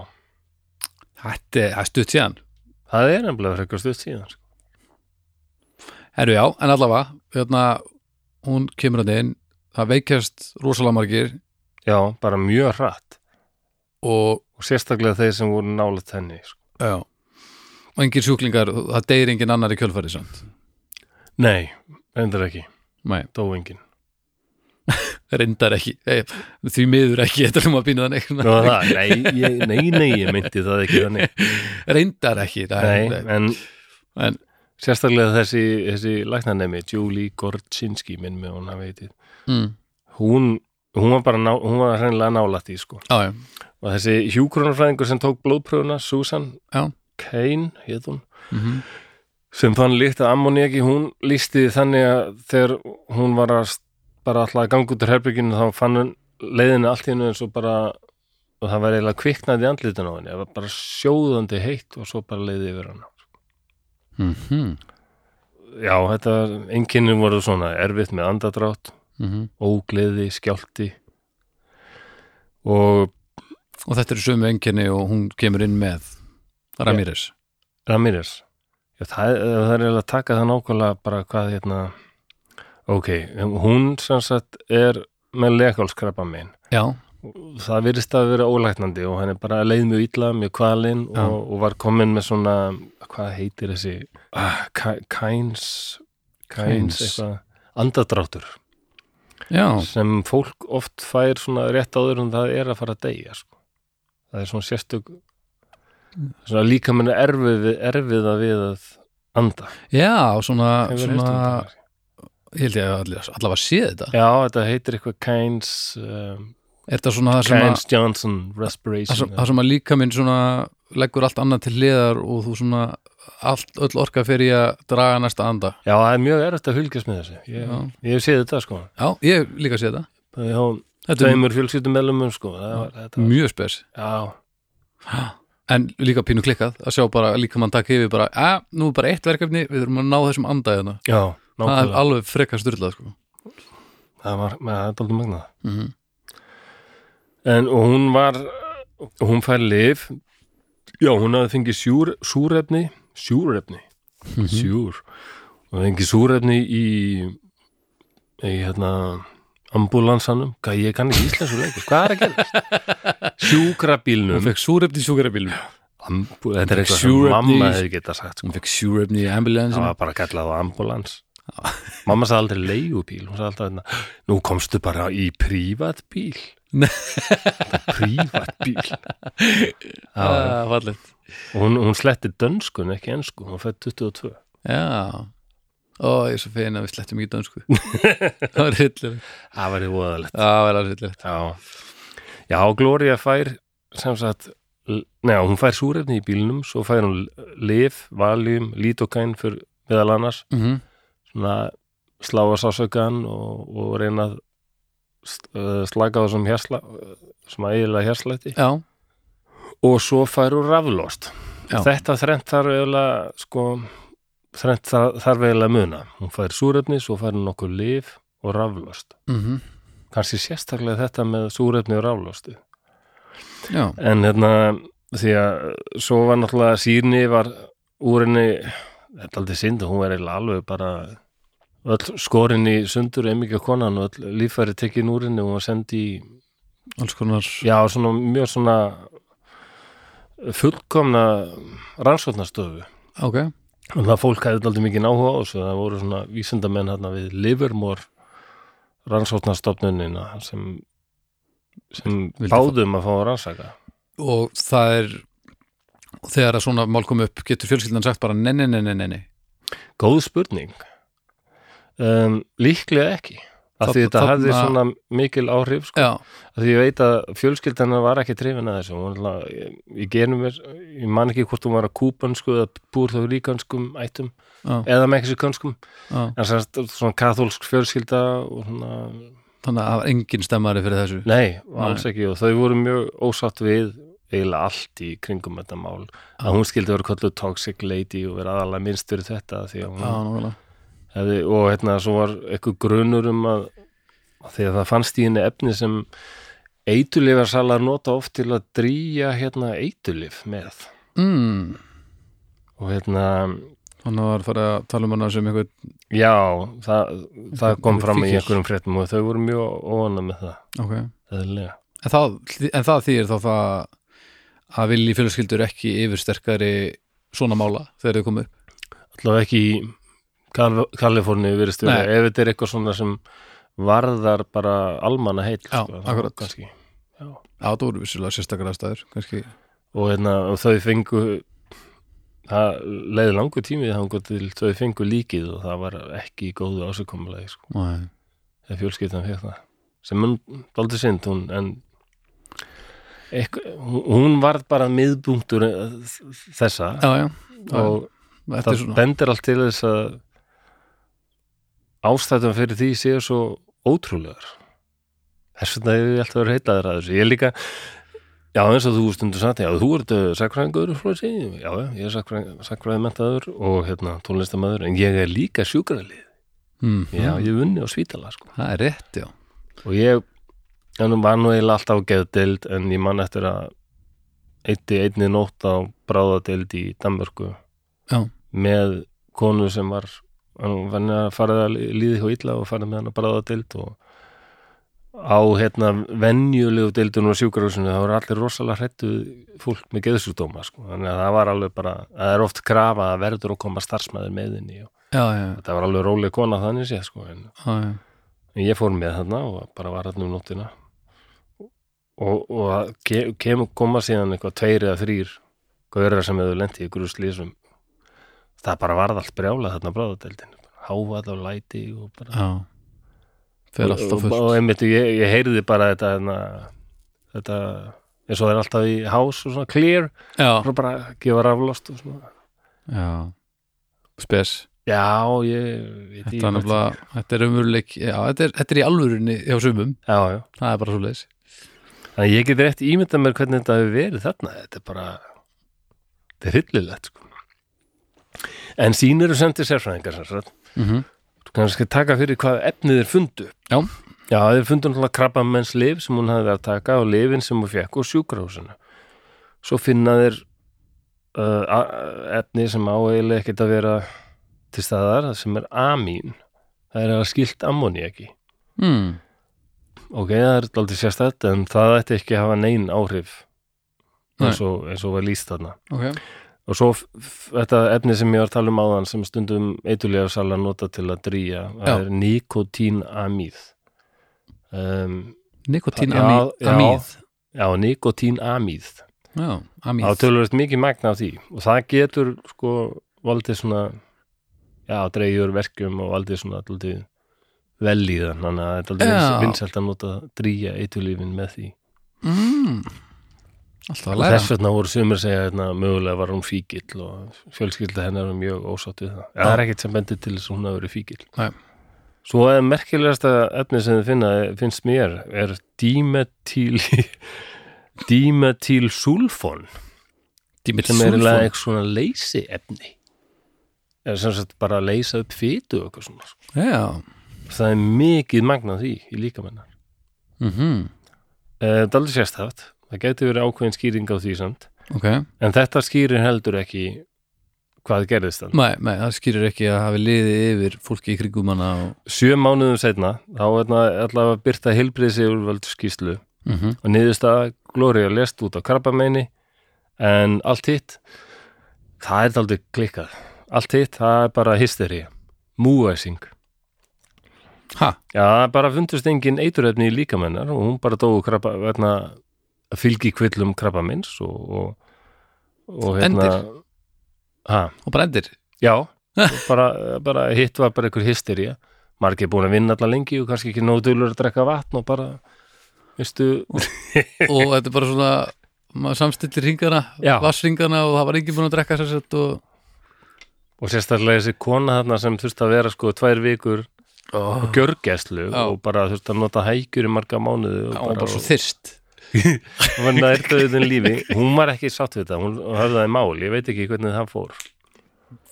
Speaker 2: þetta er- það er stutt síðan
Speaker 1: það er nefnilega frekar stutt síðan sko.
Speaker 2: Herru já, en allavega, hérna hún kemur hann inn, það veikjast rosalega margir
Speaker 1: já, bara mjög hratt
Speaker 2: og
Speaker 1: og sérstaklega þeir sem voru nálætt henni sko.
Speaker 2: Já. Og engin sjúklingar, það deyr engin annar í kjölfari samt.
Speaker 1: Nei, reyndar ekki,
Speaker 2: Nei,
Speaker 1: dó enginn
Speaker 2: reyndar ekki. Ei, því miður ekki, þetta er um að býna þannig.
Speaker 1: Nú, það, nei, ég, nei, nei, ég myndi það ekki þannig
Speaker 2: Reyndar ekki.
Speaker 1: Nei, en
Speaker 2: En,
Speaker 1: sérstaklega þessi, þessi læknanemi, Julie Gorczynski minn með hún að veitið
Speaker 2: mm,
Speaker 1: hún, hún var bara, ná, hún var hreinlega nálætt í sko
Speaker 2: á, já,
Speaker 1: og þessi hjúkronarfræðingur sem tók blóðpröfuna Susan
Speaker 2: Já.
Speaker 1: Kane, hétt hún
Speaker 2: mhm,
Speaker 1: sem fann líkt að ammoniaki, hún lísti þannig að þegar hún var að st- bara alltaf að ganga út úr herbygginu þá fann hún leiðinu allt í hennu eins og bara og það var eiginlega kviknaði andlítan á henni það var bara sjóðandi heitt og svo bara leiði yfir hana
Speaker 2: mhm,
Speaker 1: já, þetta, einkennin voru svona erfitt með andadrátt,
Speaker 2: mhm.
Speaker 1: ógleði skjálti og
Speaker 2: Og þetta eru sömu enginni og hún kemur inn með Ramírez.
Speaker 1: Ramírez já, það, það er eiginlega að taka það nákvæmlega bara hvað hérna ok, hún sem sagt er með leghálskrabba minn
Speaker 2: Já,
Speaker 1: það virðist að vera ólæknandi og hann er bara leið mjög illa, mjög kvalinn
Speaker 2: Já.
Speaker 1: og, og var komin með svona hvað heitir þessi ah, kæns
Speaker 2: Kynes.
Speaker 1: kæns eitthvað, andadráttur
Speaker 2: já,
Speaker 1: sem fólk oft fær svona rétt áður en það er að fara að deyja sko. það er svona sérstök svona líka minna erfið, erfiða við að anda
Speaker 2: já, svona,
Speaker 1: Hefur heyrt um
Speaker 2: svona
Speaker 1: þetta?
Speaker 2: ég held ég að allir- allavega sé þetta
Speaker 1: Já, þetta heitir eitthvað Kynes um,
Speaker 2: er þetta svona það sem að
Speaker 1: Kynes Johnson
Speaker 2: það sem-
Speaker 1: Respiration
Speaker 2: það sem að líka minn svona leggur allt annað til hliðar og þú svona allt, öll orka fyrir í að draga næsta anda
Speaker 1: Já, það er mjög erfitt að hulgjast með þessu Ég,
Speaker 2: Já.
Speaker 1: ég hef séð þetta sko
Speaker 2: já, ég hef líka sé þetta
Speaker 1: Ég hef
Speaker 2: þetta er
Speaker 1: tveimur fjölskyldum meðlumum sko það var, þetta var,
Speaker 2: mjög spes
Speaker 1: Já,
Speaker 2: en líka pínu klikkað að sjá bara líka mann takk yfir bara að nú er bara eitt verkefni, við þurfum að ná þessum anda hérna
Speaker 1: já,
Speaker 2: það er
Speaker 1: nákvæmlega
Speaker 2: alveg frekar styrlað sko.
Speaker 1: Það var, með, það er dálítið magnað
Speaker 2: mm
Speaker 1: En og hún var, og hún fær lif Já, hún hafði fengið sjúr, súrefni Sjúrefni,
Speaker 2: Mhm.
Speaker 1: sjúr Hún fengið súrefni í í hérna ambulansanum, hvað ég kann ekki íslensku lengur hvað er að gerast?
Speaker 2: hún
Speaker 1: sjúkrabílnum
Speaker 2: fekk súrefni í sjúkrabílum
Speaker 1: Ambu, þetta er eitthvað sem
Speaker 2: Sjúrefni
Speaker 1: mamma
Speaker 2: í-
Speaker 1: hefði geta sagt sko.
Speaker 2: hún fekk súrefni í ambulance
Speaker 1: það var bara kallað á ambulans mamma sagði aldrei leigubíl hún sagði alltaf hérna, nú komstu bara í prívatbíl
Speaker 2: Nei.
Speaker 1: prívatbíl og
Speaker 2: ah, fallegt
Speaker 1: hún, hún sletti dönskun ekki ennsku, hún fætt 22
Speaker 2: já Ó, ég er svo fein að við slettum ekki dönsku Það var hryllilegt
Speaker 1: það væri voðalegt
Speaker 2: Það var hryllilegt
Speaker 1: já. já, Gloria fær sem sagt, l- neða, hún fær súrefni í bílnum, svo fær hún lif, valium, lítokæn fyrir meðal annars
Speaker 2: mm
Speaker 1: svona slá að sásaukan og, og reyna að st- uh, slaka á þessum hérsla sem að eiginlega hérslætti
Speaker 2: Já,
Speaker 1: og svo fær hún raflost
Speaker 2: Já.
Speaker 1: þetta þrennt þarf eiginlega sko, þrennt þar- þarf eiginlega að muna hún fær súrefni, svo fær hún nokkuð lif og raflost
Speaker 2: mm
Speaker 1: kannski sérstaklega þetta með súrefni og raflosti
Speaker 2: já
Speaker 1: en hérna því að svo var náttúrulega sírni var úr henni þetta er aldrei synd, hún var eiginlega alveg bara öll skorinn í sundur emíkja konan og öll líffæri tekin úr henni og hún var send í,
Speaker 2: alls konar
Speaker 1: já, svona mjög svona fullkomna rannsóknastofu
Speaker 2: ok,
Speaker 1: og það fólk hefði aldrei mikið náhuga á þessu það voru svona vísindamenn hérna við Livermore rannsóknastofnunina sem, sem
Speaker 2: Vildu fá-
Speaker 1: báðum að fá að rannsaka
Speaker 2: og það er og þegar að svona mál kom upp getur fjölskyldan sagt bara nenni, nenni, nenni
Speaker 1: Góð spurning um, Líklega ekki af því
Speaker 2: Þarna-
Speaker 1: þetta hafði
Speaker 2: þarna-
Speaker 1: svona mikil áhrif sko.
Speaker 2: já,
Speaker 1: af því ég veit að fjölskyldana var ekki trefin að þessu hún, ætla- ég, ég genum mér, ég man ekki hvort hún var að kúpansku eða búr þá ríkanskum ættum
Speaker 2: já,
Speaker 1: eða mexikanskum
Speaker 2: já.
Speaker 1: en semst svona katholsk fjölskylda og svona,
Speaker 2: þannig að það var engin stemmari fyrir þessu
Speaker 1: nei,
Speaker 2: Nei.
Speaker 1: alls ekki og þau voru mjög ósátt við eiginlega allt í kringum þetta mál að hún skildi vera kollu toxic lady og vera aðalega minnst fyrir þetta því að hún
Speaker 2: já, nákvæmlega
Speaker 1: hefði, og hérna svo var eitthvað grunur um að, að því að það fannst í henni efni sem eitulifarsalar nota oft til að drýja hérna eitulif með
Speaker 2: mm,
Speaker 1: og hérna,
Speaker 2: þannig að það var farið að tala um hana sem einhver
Speaker 1: já það, það kom
Speaker 2: Einhver
Speaker 1: fram í
Speaker 2: fíkil.
Speaker 1: einhverjum fréttum og þau voru mjög óanna með það
Speaker 2: ok,
Speaker 1: eðlilega.
Speaker 2: en það, en það þýr þá það að vilji fjölskyldur ekki yfirsterkari svona mála þegar þau komu upp
Speaker 1: allavega ekki í Kal- Kaliforníu virðist
Speaker 2: Nei.
Speaker 1: vera, ef þetta er eitthvað svona sem varðar bara almanna heill
Speaker 2: Já,
Speaker 1: sko,
Speaker 2: akkurat.
Speaker 1: kannski
Speaker 2: já, það voru vissulega sérstakara staður kannski,
Speaker 1: og, hérna, og þau fengu það leiði langur tími þangur til þau fengu líkið og það var ekki í góðu ásökomulegi sko,
Speaker 2: Nei.
Speaker 1: þegar fjölskyldan fekk það sem hún daldi sind hún, en eitthvað, hún- hún varð bara miðbúntur þessa
Speaker 2: já, já,
Speaker 1: og
Speaker 2: þetta
Speaker 1: það
Speaker 2: er svona
Speaker 1: bendir allt til þess að ástæðum fyrir því séu svo ótrúlegar þess vegna hefur ég alltaf verið heitlaður að þessu ég er líka, já eins og þú stundur sagt já þú ert uh, sakfræðingur Flósi. já já, ég er sakfræðing- sakfræðimentaður og hérna tónlistamæður en ég er líka sjúkralið,
Speaker 2: mm,
Speaker 1: já ég hef unni á svítala sko.
Speaker 2: það er rétt, já
Speaker 1: og ég en var nú eiginlega alltaf geðdeild en ég man eftir að eitti einni nótt á bráðadeild í Danmörku
Speaker 2: Já.
Speaker 1: með konu sem var hann var farið að líði hjá illa og farið með hann að bráðadeild og á hérna venjulegu deildunum og sjúkarhúsinu þá eru allir rosalega hrættu fólk með geðsjúkdóma sko. þannig að það var alveg bara það er oft krafa að verður að koma starfsmæður með inn í og
Speaker 2: já, já,
Speaker 1: þetta var alveg róleg kona þannig sé sko en
Speaker 2: já, já.
Speaker 1: en ég fór með þarna og bara var þarna um nóttina og, og að ke, kem, koma síðan eitthvað tveir eða þrýr gaurar sem hefur lent í ykkur slísum það bara varð allt brjála þarna bráðadeldin háfað og læti og bara
Speaker 2: já. fer
Speaker 1: og,
Speaker 2: alltaf
Speaker 1: og,
Speaker 2: fullt
Speaker 1: og einmitt ég, ég heyrði bara þetta hérna, þetta eins og það er alltaf í hás og svona clear
Speaker 2: já,
Speaker 1: og bara gefa raflost og svona
Speaker 2: já, spes
Speaker 1: já, ég, ég
Speaker 2: þetta er nefnilega, þetta er umurleik já, þetta er, þetta er í alvörunni hjá sumum
Speaker 1: já, já
Speaker 2: það er bara svo leis
Speaker 1: Þannig að ég get rétt ímynda mér hvernig þetta hefur verið þarna. Þetta er bara, þetta er hryllilegt, sko. En sín eru sendið sérfræðingar, sem sagt.
Speaker 2: mm -hmm.
Speaker 1: Þú kannski taka fyrir hvað efnið er fundu.
Speaker 2: Já.
Speaker 1: Já, þeir fundu náttúrulega krabba menns liv sem hún hafði verið að taka og lifin sem hún fekk og sjúkrahúsinu. Svo finna þeir uh, a- efni sem á eiginlega ekkert að vera til staðar, sem er amín. Það er að skilt ammoniaki.
Speaker 2: mm.
Speaker 1: Ok, það er aldrei sérstætt en það ætti ekki að hafa nein áhrif
Speaker 2: Nei.
Speaker 1: eins og, eins og var líst þarna
Speaker 2: ok,
Speaker 1: og svo f- f- þetta efni sem ég var að tala um áðan sem stundum eitulega sala nota til að drýja
Speaker 2: Já.
Speaker 1: það er nikotínamíð um,
Speaker 2: nikotín
Speaker 1: Já,
Speaker 2: amíð
Speaker 1: já.
Speaker 2: amíð.
Speaker 1: Já, nikotínamíð á
Speaker 2: já, amíð
Speaker 1: tölvöld mikið magna á því og það getur sko valdið svona já, dreigjur verkjum og valdið svona alltaf velíðan, þannig að þetta er
Speaker 2: Já.
Speaker 1: aldrei vinsælt að nota drýja eitulífin með því
Speaker 2: mm. alltaf að
Speaker 1: og
Speaker 2: læra
Speaker 1: þess vegna voru sumir að segja hérna, mögulega var hún fíkil og fjölskylda hennar er mjög ósátt við það ja, það er ekkert sem bendir til þess að hún hafi verið fíkil
Speaker 2: Nei.
Speaker 1: svo að merkilegasta efni sem þið finna finnst mér er dímetíl dímetíl sulfon
Speaker 2: Dímit
Speaker 1: sem er
Speaker 2: Súlfón.
Speaker 1: eiginlega eitthvað svona leysi efni eða sem sagt bara að leysa upp fytu og eitthvað svona sko.
Speaker 2: já,
Speaker 1: það er mikið magnað því í líkamennar
Speaker 2: mhm,
Speaker 1: Eh, þetta er aldrei sérstætt það gæti verið ákveðin skýring á því samt
Speaker 2: ok
Speaker 1: En þetta skýrir heldur ekki hvað gerðist þannig.
Speaker 2: nei, nei, það skýrir ekki að hafi liðið yfir fólki í krigum hana og...
Speaker 1: Sjö mánuðum setna, þá er þarna allavega byrta hilbriðsi úrvöld skýslu
Speaker 2: mm -hmm.
Speaker 1: og niðurst að Gloria lest út á krabbameini en allt hitt, það er aldrei klikkað. Allt hitt, það er bara hystería, múæsing.
Speaker 2: ha,
Speaker 1: Já, það er bara fundust engin eiturefni í líkamennar og hún bara dóu krabba, verna, fylgi kvillum krabbamins og, og, og hérna-
Speaker 2: Endir?
Speaker 1: Ha?
Speaker 2: og brendir
Speaker 1: Já, bara, bara hitt var bara einhver hystería margir búin að vinna allar lengi og kannski ekki nóg dulur að drekka vatn og bara veistu,
Speaker 2: og þetta er bara svona maður samstillir ringana,
Speaker 1: Já.
Speaker 2: vassringana og það var enginn búin að drekka sér sett og
Speaker 1: og sérstaklega þessi kona þarna sem þurfti að vera sko tvær vikur
Speaker 2: oh.
Speaker 1: á gjörgæslu
Speaker 2: Já.
Speaker 1: og bara þurfti að nota hækjur í marga mánuði og
Speaker 2: og bara svo þyrst
Speaker 1: og var nærdauðin lífi hún var ekki sátt við þetta, hún höfðaði mál ég veit ekki hvernig það fór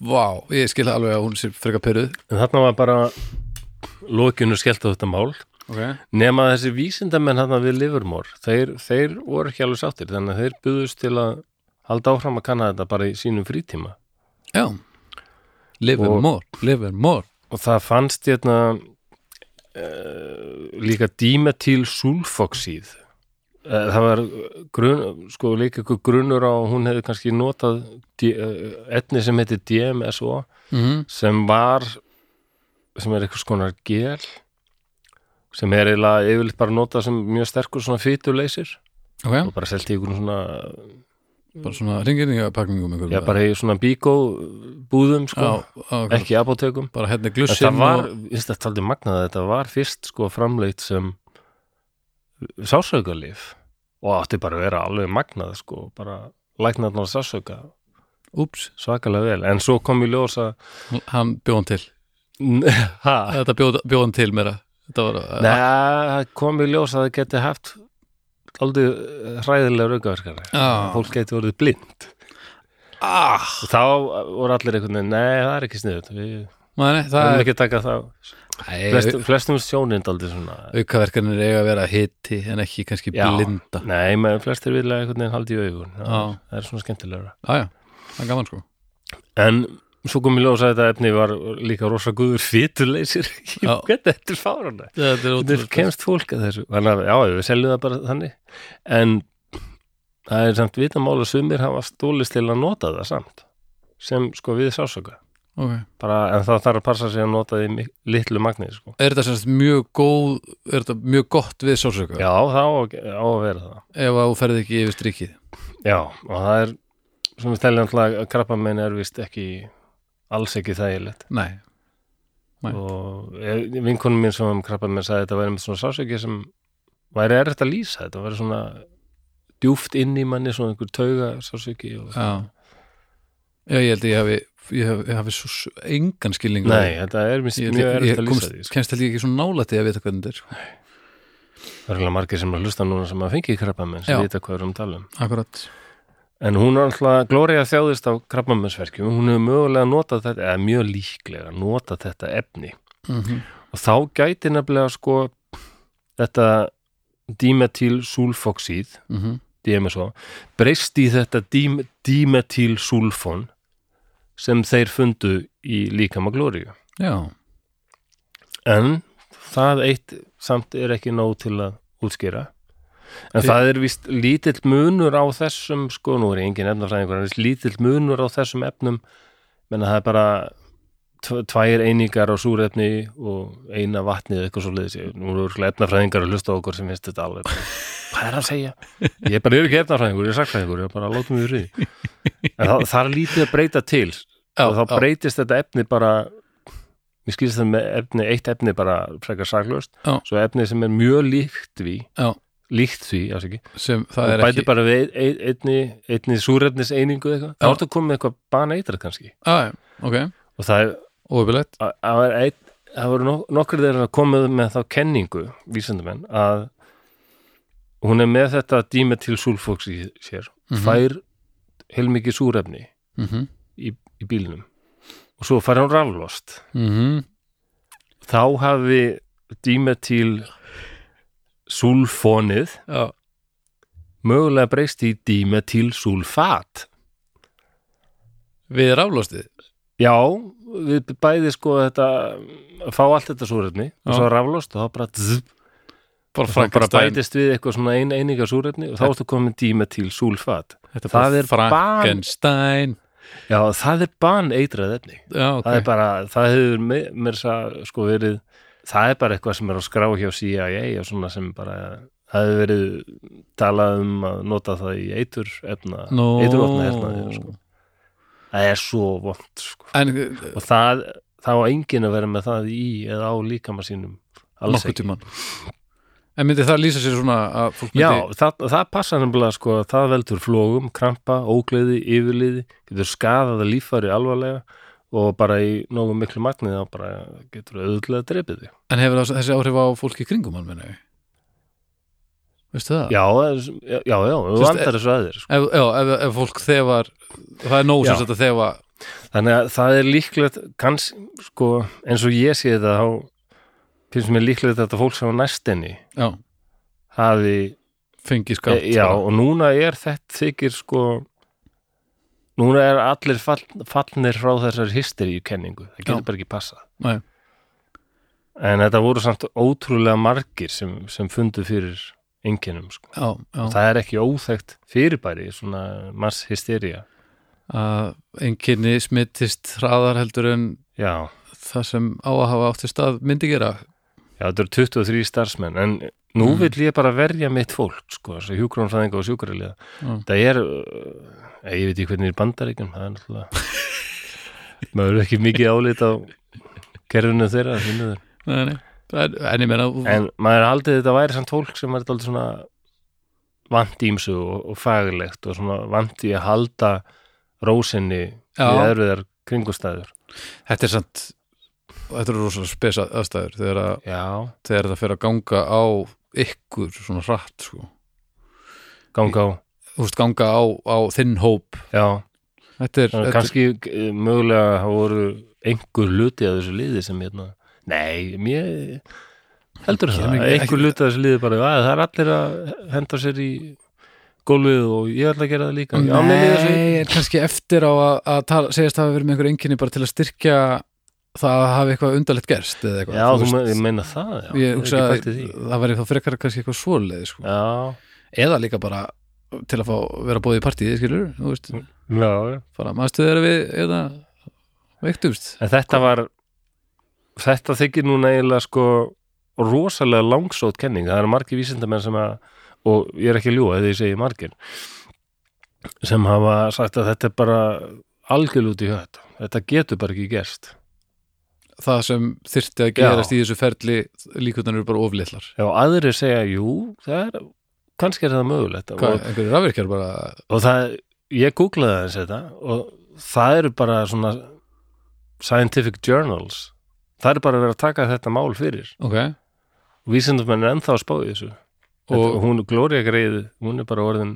Speaker 2: Vá, ég skil alveg að hún sé frekar peruð
Speaker 1: en þarna var bara lokinu skellt á þetta mál
Speaker 2: okay.
Speaker 1: nema þessi vísindamenn hann við Livermore, þeir, þeir voru ekki alveg sáttir, þannig að þeir buðust til að halda áfram að kanna þetta bara í sínum frítíma
Speaker 2: Já Live and
Speaker 1: Og-
Speaker 2: more, live and more
Speaker 1: og það fannst hérna uh, líka dímetil sulfoxíð uh, það var grun, sko líka ykkur grunur á, hún hefði kannski notað D- eh, efni sem heiti DMSO
Speaker 2: mm
Speaker 1: sem var sem er eitthvað skonar gel sem er eiginlega yfirleitt bara notað sem mjög sterkur svona fytuleysir
Speaker 2: Ok,
Speaker 1: og bara selti ykkur svona
Speaker 2: bara svona ringirningapakningum einhverjum.
Speaker 1: já, bara í svona bíkó búðum sko,
Speaker 2: Já, á, ok.
Speaker 1: ekki apotekum
Speaker 2: Bara hérna
Speaker 1: en
Speaker 2: glussin
Speaker 1: það var,
Speaker 2: og...
Speaker 1: ég veist að taldi magnað að þetta var fyrst sko framleitt sem sásaukalif og átti bara að vera alveg magnað sko, bara læknarnar sásauka
Speaker 2: Úps,
Speaker 1: svakalega vel, en svo kom í ljós að
Speaker 2: hann bjóð hann til
Speaker 1: ha,
Speaker 2: Þetta bjóð, bjóð hann til meira Þetta var
Speaker 1: neða, kom í ljós að það geti haft aldrei hræðilega raukaverkar
Speaker 2: Já.
Speaker 1: fólk geti orðið blind
Speaker 2: ah,
Speaker 1: og þá voru allir einhvern veginn, nei, það er ekki sniðut við
Speaker 2: mani,
Speaker 1: Það
Speaker 2: Það
Speaker 1: er
Speaker 2: er
Speaker 1: ekki að taka það Flest,
Speaker 2: Nei,
Speaker 1: Flestum sjónind aldrei svona
Speaker 2: Aukaverkanir eiga að vera hiti en ekki kannski
Speaker 1: Já.
Speaker 2: blinda
Speaker 1: Nei, með flestir vilja einhvern veginn haldi í augun
Speaker 2: Ah, Já.
Speaker 1: Það er svona skemmtilegra
Speaker 2: Já, já, það er gaman sko
Speaker 1: En svo kom ég ljósa að þetta efni var líka rosa guður fytuleysir
Speaker 2: Já.
Speaker 1: hvernig þetta er sko. fárana
Speaker 2: þetta er
Speaker 1: hvernig
Speaker 2: ótrúlega
Speaker 1: kemst fólk að þessu þannig að já, við seljum það bara þannig en það er samt vitamál að sumir hafa stólist til að nota það samt sem sko við sásöka
Speaker 2: Ok.
Speaker 1: bara, en það þarf að passa sig að nota því mik- litlu magnið sko.
Speaker 2: er þetta semst mjög góð er þetta mjög gott við sálsöka
Speaker 1: já, það á, að- á að vera það
Speaker 2: ef að þú ferði ekki yfir strikið
Speaker 1: já, og það er sem við teljum alltaf að krabba minn er vist ekki alls ekki þægilegt
Speaker 2: nei, Nei.
Speaker 1: og ég- vinkonum mín sem um krabba minn sagði að þetta væri með svona sásöki sem væri erfitt að lýsa þetta væri svona djúft inn í manni svona einhver tauga sásöki og
Speaker 2: já. já, ég held að ég hafi ég hafi, ég hafi svo s- engan skilning á
Speaker 1: Nei, þetta er mjög,
Speaker 2: því. ég,
Speaker 1: mjög
Speaker 2: ég,
Speaker 1: erfitt
Speaker 2: ég
Speaker 1: að lýsa
Speaker 2: komst,
Speaker 1: því sko.
Speaker 2: kemst held ég ekki svona nálætti að vita hvernig þetta er sko.
Speaker 1: Það er eiginlega margir sem að hlusta núna sem að fengi krabbamenn
Speaker 2: Já.
Speaker 1: sem vita hvað er um talum
Speaker 2: akkurat,
Speaker 1: En hún er alltaf, Gloria þjáðist á krabbamennsverkjum hún hefur mögulega notað þetta eða mjög líklega notað þetta efni
Speaker 2: mm -hmm.
Speaker 1: og þá gæti nefnilega sko þetta dimetil sulfoxíð
Speaker 2: mhm.
Speaker 1: DMSO, breyst í þetta dim, dimetil sulfon sem þeir fundu í líkama Glóriu
Speaker 2: já,
Speaker 1: en það eitt samt er ekki nóg til að útskýra en
Speaker 2: Því-
Speaker 1: það er vist lítill munur á þessum sko, nú er ég engin efnafræðingur en víst lítill munur á þessum efnum menn að það er bara tv- tvær einingar á súrefni og eina vatni eða eitthvað svo leiðis nú eru örugglega efnafræðingar að hlusta á okkur sem finnst þetta alveg bara, hvað er að segja? ég bara er ekki efnafræðingur, ég er sakfræðingur ég bara látum við rið en það, það er lítið að breyta til
Speaker 2: já,
Speaker 1: og þá
Speaker 2: já,
Speaker 1: breytist þetta efni bara mér skilst það með efni, eitt efni bara frekar saklaust,
Speaker 2: Já.
Speaker 1: svo efni sem er mjög líkt því,
Speaker 2: Já.
Speaker 1: líkt því afsaki,
Speaker 2: sem það
Speaker 1: og
Speaker 2: er
Speaker 1: bæti
Speaker 2: ekki
Speaker 1: bara við ein, einni, einni súrefnis einingu eitthvað, þá
Speaker 2: Já.
Speaker 1: ertu að koma með eitthvað baneitrað kannski,
Speaker 2: ah, ok,
Speaker 1: og það er
Speaker 2: óöfilegt
Speaker 1: að- að er einn- það voru nok nokkur þeirra að komið með þá kenningu, vísindamenn að hún er með þetta dýma til súlfóks í sér
Speaker 2: Mhm.
Speaker 1: fær heilmikið súrefni
Speaker 2: mm -hmm.
Speaker 1: í, í bílnum og svo fær hún raflost
Speaker 2: Mm -hmm.
Speaker 1: þá hafi dímetil sulfonið
Speaker 2: já,
Speaker 1: mögulega breyst í dímetil sulfat
Speaker 2: við raflóstið
Speaker 1: já, við bæði sko þetta fá allt þetta súrefni og
Speaker 2: Já.
Speaker 1: svo raflost og þá bara, zzz,
Speaker 2: bara
Speaker 1: þá bara
Speaker 2: Frankenstein.
Speaker 1: bætist við eitthvað svona ein, eininga súrefni og þá ertu komin dímetil sulfat
Speaker 2: Þetta
Speaker 1: það
Speaker 2: bara
Speaker 1: er
Speaker 2: Frankenstein
Speaker 1: já, það er ban eitrað efni
Speaker 2: já, ok,
Speaker 1: það er bara, það hefur me- mér sá, sko verið, það er bara eitthvað sem er á skrá hjá CIA og svona sem bara, það hefur verið talað um að nota það í eitur efna,
Speaker 2: Nó.
Speaker 1: eitur opna sko. það er svo vond sko.
Speaker 2: en eh,
Speaker 1: og það, það á enginn að vera með það í eða á líkama sínum alls
Speaker 2: nokkuð
Speaker 1: ekki
Speaker 2: tíman en myndi það lýsa sér svona að fólk myndi
Speaker 1: Já, það, það passa nefnilega sko að það veldur flógum, krampa, ógleði, yfirliði, getur skadað að líffari alvarlega og bara í nógu miklu magnið þá bara getur auðvitað að dreipið þig.
Speaker 2: En hefur það þessi áhrif á fólki í kringum hann minni? Veistu það?
Speaker 1: Já, það er- já, já, þú
Speaker 2: Sérst,
Speaker 1: vandar þessu aðeir sko.
Speaker 2: Ef, já, ef, ef fólk þefar það er nóg
Speaker 1: Já.
Speaker 2: sem þetta þefa
Speaker 1: Þannig að það er líklegt kanns, sko, eins og ég sé þetta þá finnst mér líklegt að þetta fólk sem á næstinni
Speaker 2: já,
Speaker 1: hafi,
Speaker 2: fengi sko. skamt
Speaker 1: e, já, og núna er þetta þykir sko núna er allir fall, fallnir frá þessari hysteríu kenningu það getur
Speaker 2: Já.
Speaker 1: bara ekki passað
Speaker 2: Nei.
Speaker 1: en þetta voru samt ótrúlega margir sem, sem fundu fyrir einkennum, sko.
Speaker 2: já, já.
Speaker 1: Það er ekki óþekkt fyrirbæri, svona mass hystería.
Speaker 2: að einkenni smittist hraðar heldur en
Speaker 1: Já.
Speaker 2: það sem á að hafa átti stað myndi gera
Speaker 1: Já, þetta eru 23 starfsmenn en nú
Speaker 2: Mm.
Speaker 1: vill ég bara verja mitt fólk sko, þessi hjúkrónfræðinga og sjúkraliða
Speaker 2: Mm.
Speaker 1: það er, uh, ég veit ekki hvernig er bandaríkjum, það er náttúrulega maður er ekki mikið álít á kerfinu þeirra því miður.
Speaker 2: nei, nei. En, en ég meina
Speaker 1: en maður haldið þetta væri samt fólk sem er alltaf svona vant ímsu og, og faglegt og svona vant í að halda rósinni við
Speaker 2: já,
Speaker 1: erfiðar kringustæður
Speaker 2: þetta er samt þetta eru rosalega spes aðstæður þegar, að,
Speaker 1: Já,
Speaker 2: þegar það fer að ganga á ykkur svona hratt sko.
Speaker 1: ganga á
Speaker 2: þú veist ganga á, á þinn hóp
Speaker 1: Já,
Speaker 2: þetta er,
Speaker 1: Þannig að
Speaker 2: þetta er
Speaker 1: kannski eh, mögulega hafa voru einhver luti að þessu liði sem hérna nei, mér heldur
Speaker 2: Kemur
Speaker 1: það,
Speaker 2: ekki-
Speaker 1: einhver luti að þessu liði bara að það er allir að henda sér í gólfið og ég ætla að gera það líka Já, mér líður svo-
Speaker 2: Nei, en kannski eftir á að, að tala, segist að hafa verið með einhver einkenni bara til að styrkja það að hafa eitthvað undarlegt gerst eða eitthvað
Speaker 1: Já,
Speaker 2: þú
Speaker 1: þú
Speaker 2: veist.
Speaker 1: me- ég meina það, já
Speaker 2: Ég
Speaker 1: hef
Speaker 2: hugsa
Speaker 1: ekki
Speaker 2: að
Speaker 1: pælt í því.
Speaker 2: það væri þá frekar kannski eitthvað svoleið sko.
Speaker 1: Já,
Speaker 2: eða líka bara til að fá vera bóðið í partíði, skilur þú veist,
Speaker 1: Mm. já, já
Speaker 2: bara maðurstu þeirra við eða veiktumst
Speaker 1: En þetta var þetta þykir núna eiginlega sko rosalega langsótt kenning það eru margir vísindamenn sem að og ég er ekki að ljúga þegar ég segi margir sem hafa sagt að þetta er bara algjörlega út í hött þetta getur bara ekki gerst
Speaker 2: það sem þyrfti að
Speaker 1: Já.
Speaker 2: gerast í þessu ferli líkundan eru bara oflitlar
Speaker 1: Já, aðrir segja, jú, það er kannski er það mögulegt og,
Speaker 2: einhverju rafvirkjar bara
Speaker 1: og það, ég googlaði aðeins þetta og það eru bara svona scientific journals það eru bara að vera að taka þetta mál fyrir
Speaker 2: ok,
Speaker 1: vísindamenn er ennþá að spá í þessu
Speaker 2: Og-
Speaker 1: og hún, Gloria Greið, hún er bara orðin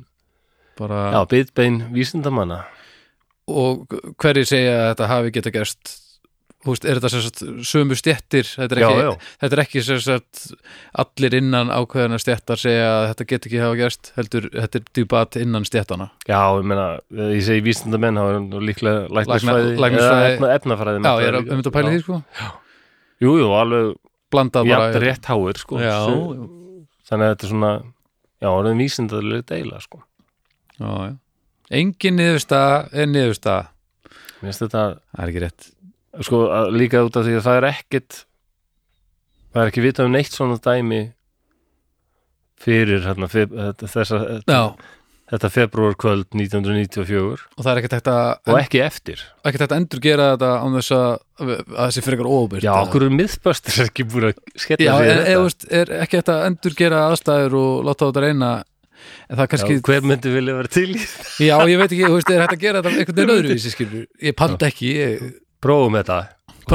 Speaker 2: bara
Speaker 1: já, bitbein vísindamanna
Speaker 2: og hverju segja að þetta hafi geta gerst Þú veist, er þetta sem sagt sömu stjettir þetta er
Speaker 1: já,
Speaker 2: ekki,
Speaker 1: já,
Speaker 2: Þetta er ekki sem sagt allir innan ákveðana stjettar segja að þetta get ekki hafa gerst heldur, þetta er dýbat innan stjettana
Speaker 1: já, ég meina ef ég segi vísindamenn, þá er hún nú líklega læknisfræði,
Speaker 2: Lækna- læknisfræði.
Speaker 1: eða efna, efnafræði
Speaker 2: Já, ég er
Speaker 1: náttúrulega
Speaker 2: um
Speaker 1: líka.
Speaker 2: þetta að pæla í því sko
Speaker 1: Já. jú, jú, alveg
Speaker 2: blandað
Speaker 1: jafn
Speaker 2: bara
Speaker 1: rétt háir, sko
Speaker 2: Já,
Speaker 1: Svo- þannig að þetta er svona já, orðin vísindalega deila, sko
Speaker 2: já, já. Engin niðursta er niðursta
Speaker 1: mér finnst þetta,
Speaker 2: Það er ekki rétt
Speaker 1: sko, að- líka út af því að það er ekkit það er ekki vitað um neitt svona dæmi fyrir hérna, fyr, þessa,
Speaker 2: Já,
Speaker 1: þetta februarkvöld 1994
Speaker 2: og það er ekkert hægt að
Speaker 1: og ekki eftir
Speaker 2: ekkert hægt að endurgera þetta án þess að að þessi frekar óbyrst
Speaker 1: Já, okkur er miðböstur ekki búin að skella
Speaker 2: Já,
Speaker 1: sig
Speaker 2: er,
Speaker 1: í
Speaker 2: er, veist, er ekki hægt að endurgera aðstæður og láta á þetta reyna en það er
Speaker 1: Já,
Speaker 2: kannski,
Speaker 1: hver myndi vilja vera til í þetta?
Speaker 2: já, ég veit ekki þú veist, er hægt að gera þetta einhvern veginn öðruvísi skilur ég panta ekki, ég,
Speaker 1: Prófum þetta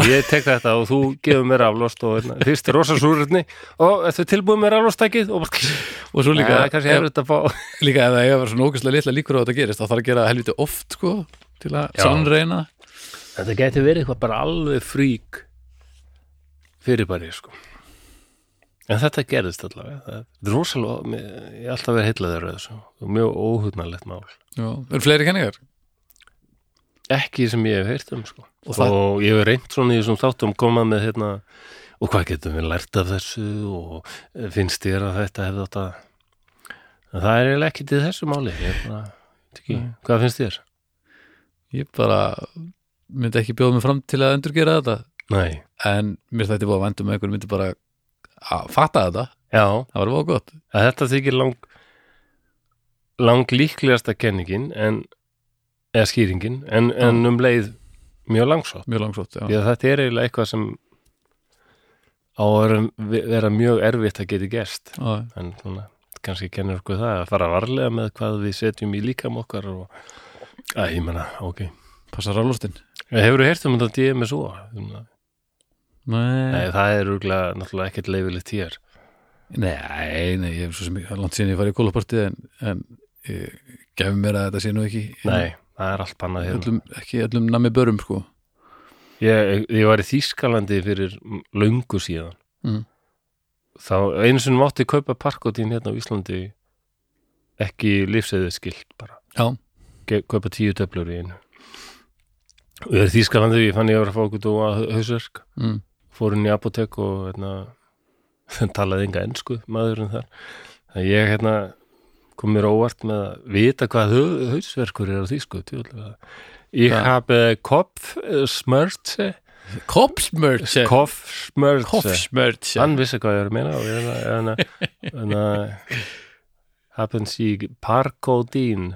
Speaker 1: Ég tek þetta og þú gefur mér aflost og hérna, fyrst er rosa súrurni og eftir tilbúið mér aflostækið og bara
Speaker 2: og svo líka
Speaker 1: Æ, kannski hefur þetta fá
Speaker 2: líka ef það eiga að vera svona ógæslega litla líkur á að þetta gerist þá þarf að gera það helviti oft sko til að
Speaker 1: Já.
Speaker 2: sannreina
Speaker 1: Þetta geti verið eitthvað bara alveg frík fyrirbæri sko En þetta gerðist allavega Það er rosalega, mér- ég er alltaf verið heillaður af þessu og mjög óhugnarlegt mál
Speaker 2: Já. eru fleiri kenningar
Speaker 1: ekki sem ég hef heyrt um sko.
Speaker 2: Og
Speaker 1: og,
Speaker 2: það-
Speaker 1: ég hef reynt svona í þessum þáttum komað með hérna og hvað getum við lært af þessu og eh, finnst þér að þetta hefði átt að en það er eiginlega ekki til þessu máli ég er bara, veit ekki, hvað finnst þér?
Speaker 2: ég bara myndi ekki bjóða mig fram til að endurgera þetta
Speaker 1: Nei,
Speaker 2: en mér þetta er búið um að vendum með einhver myndi bara að fatta þetta,
Speaker 1: já,
Speaker 2: það var búið gott
Speaker 1: að þetta þykir lang lang líklegasta kenningin en, eða skýringin en, en um leið mjög langsótt
Speaker 2: mjög langsótt, já,
Speaker 1: því að þetta er eiginlega eitthvað sem á að vera- vera mjög erfitt að geti gerst
Speaker 2: já.
Speaker 1: en svona, kannski kennir okkur það að fara varlega með hvað við setjum í líkam okkar og, að ég menna, ok
Speaker 2: passa rálustinn
Speaker 1: hefur þú heyrt um þetta DMSO? Nei,
Speaker 2: nei,
Speaker 1: það er rúglega náttúrulega ekkert leifilegt hér
Speaker 2: nei, nei, ég hef svo sem ég, langt síðan ég farið í kólapartið en, en ég gef mér að þetta sé nú ekki
Speaker 1: nei, það er allt bannað hérna
Speaker 2: öllum, ekki öllum nami börum sko
Speaker 1: ég, ég var í Þýskalandi fyrir löngu síðan
Speaker 2: Mm.
Speaker 1: þá einu sinni mátti kaupa parkotín hérna á Íslandi ekki lífsæðið skilt bara
Speaker 2: já,
Speaker 1: Ge- kaupa tíu töflur í einu og ég er í Þýskalandi ég fann ég var að fá okkur dóa hausverk
Speaker 2: mm.
Speaker 1: fór inn í apotek og hérna, talaði enga ensku maðurinn þar þannig að ég hérna, kom mér á óvart með að vita hvað hau- hausverkur er á þýsku tjóðlega. ég
Speaker 2: Hvað?
Speaker 1: hafi kopfsmörtse
Speaker 2: kopsmörtse
Speaker 1: kopfsmörtse
Speaker 2: kopsmörtse
Speaker 1: hann vissi hvað ég er að meina og ég hérna, hérna, hérna happens í parkodín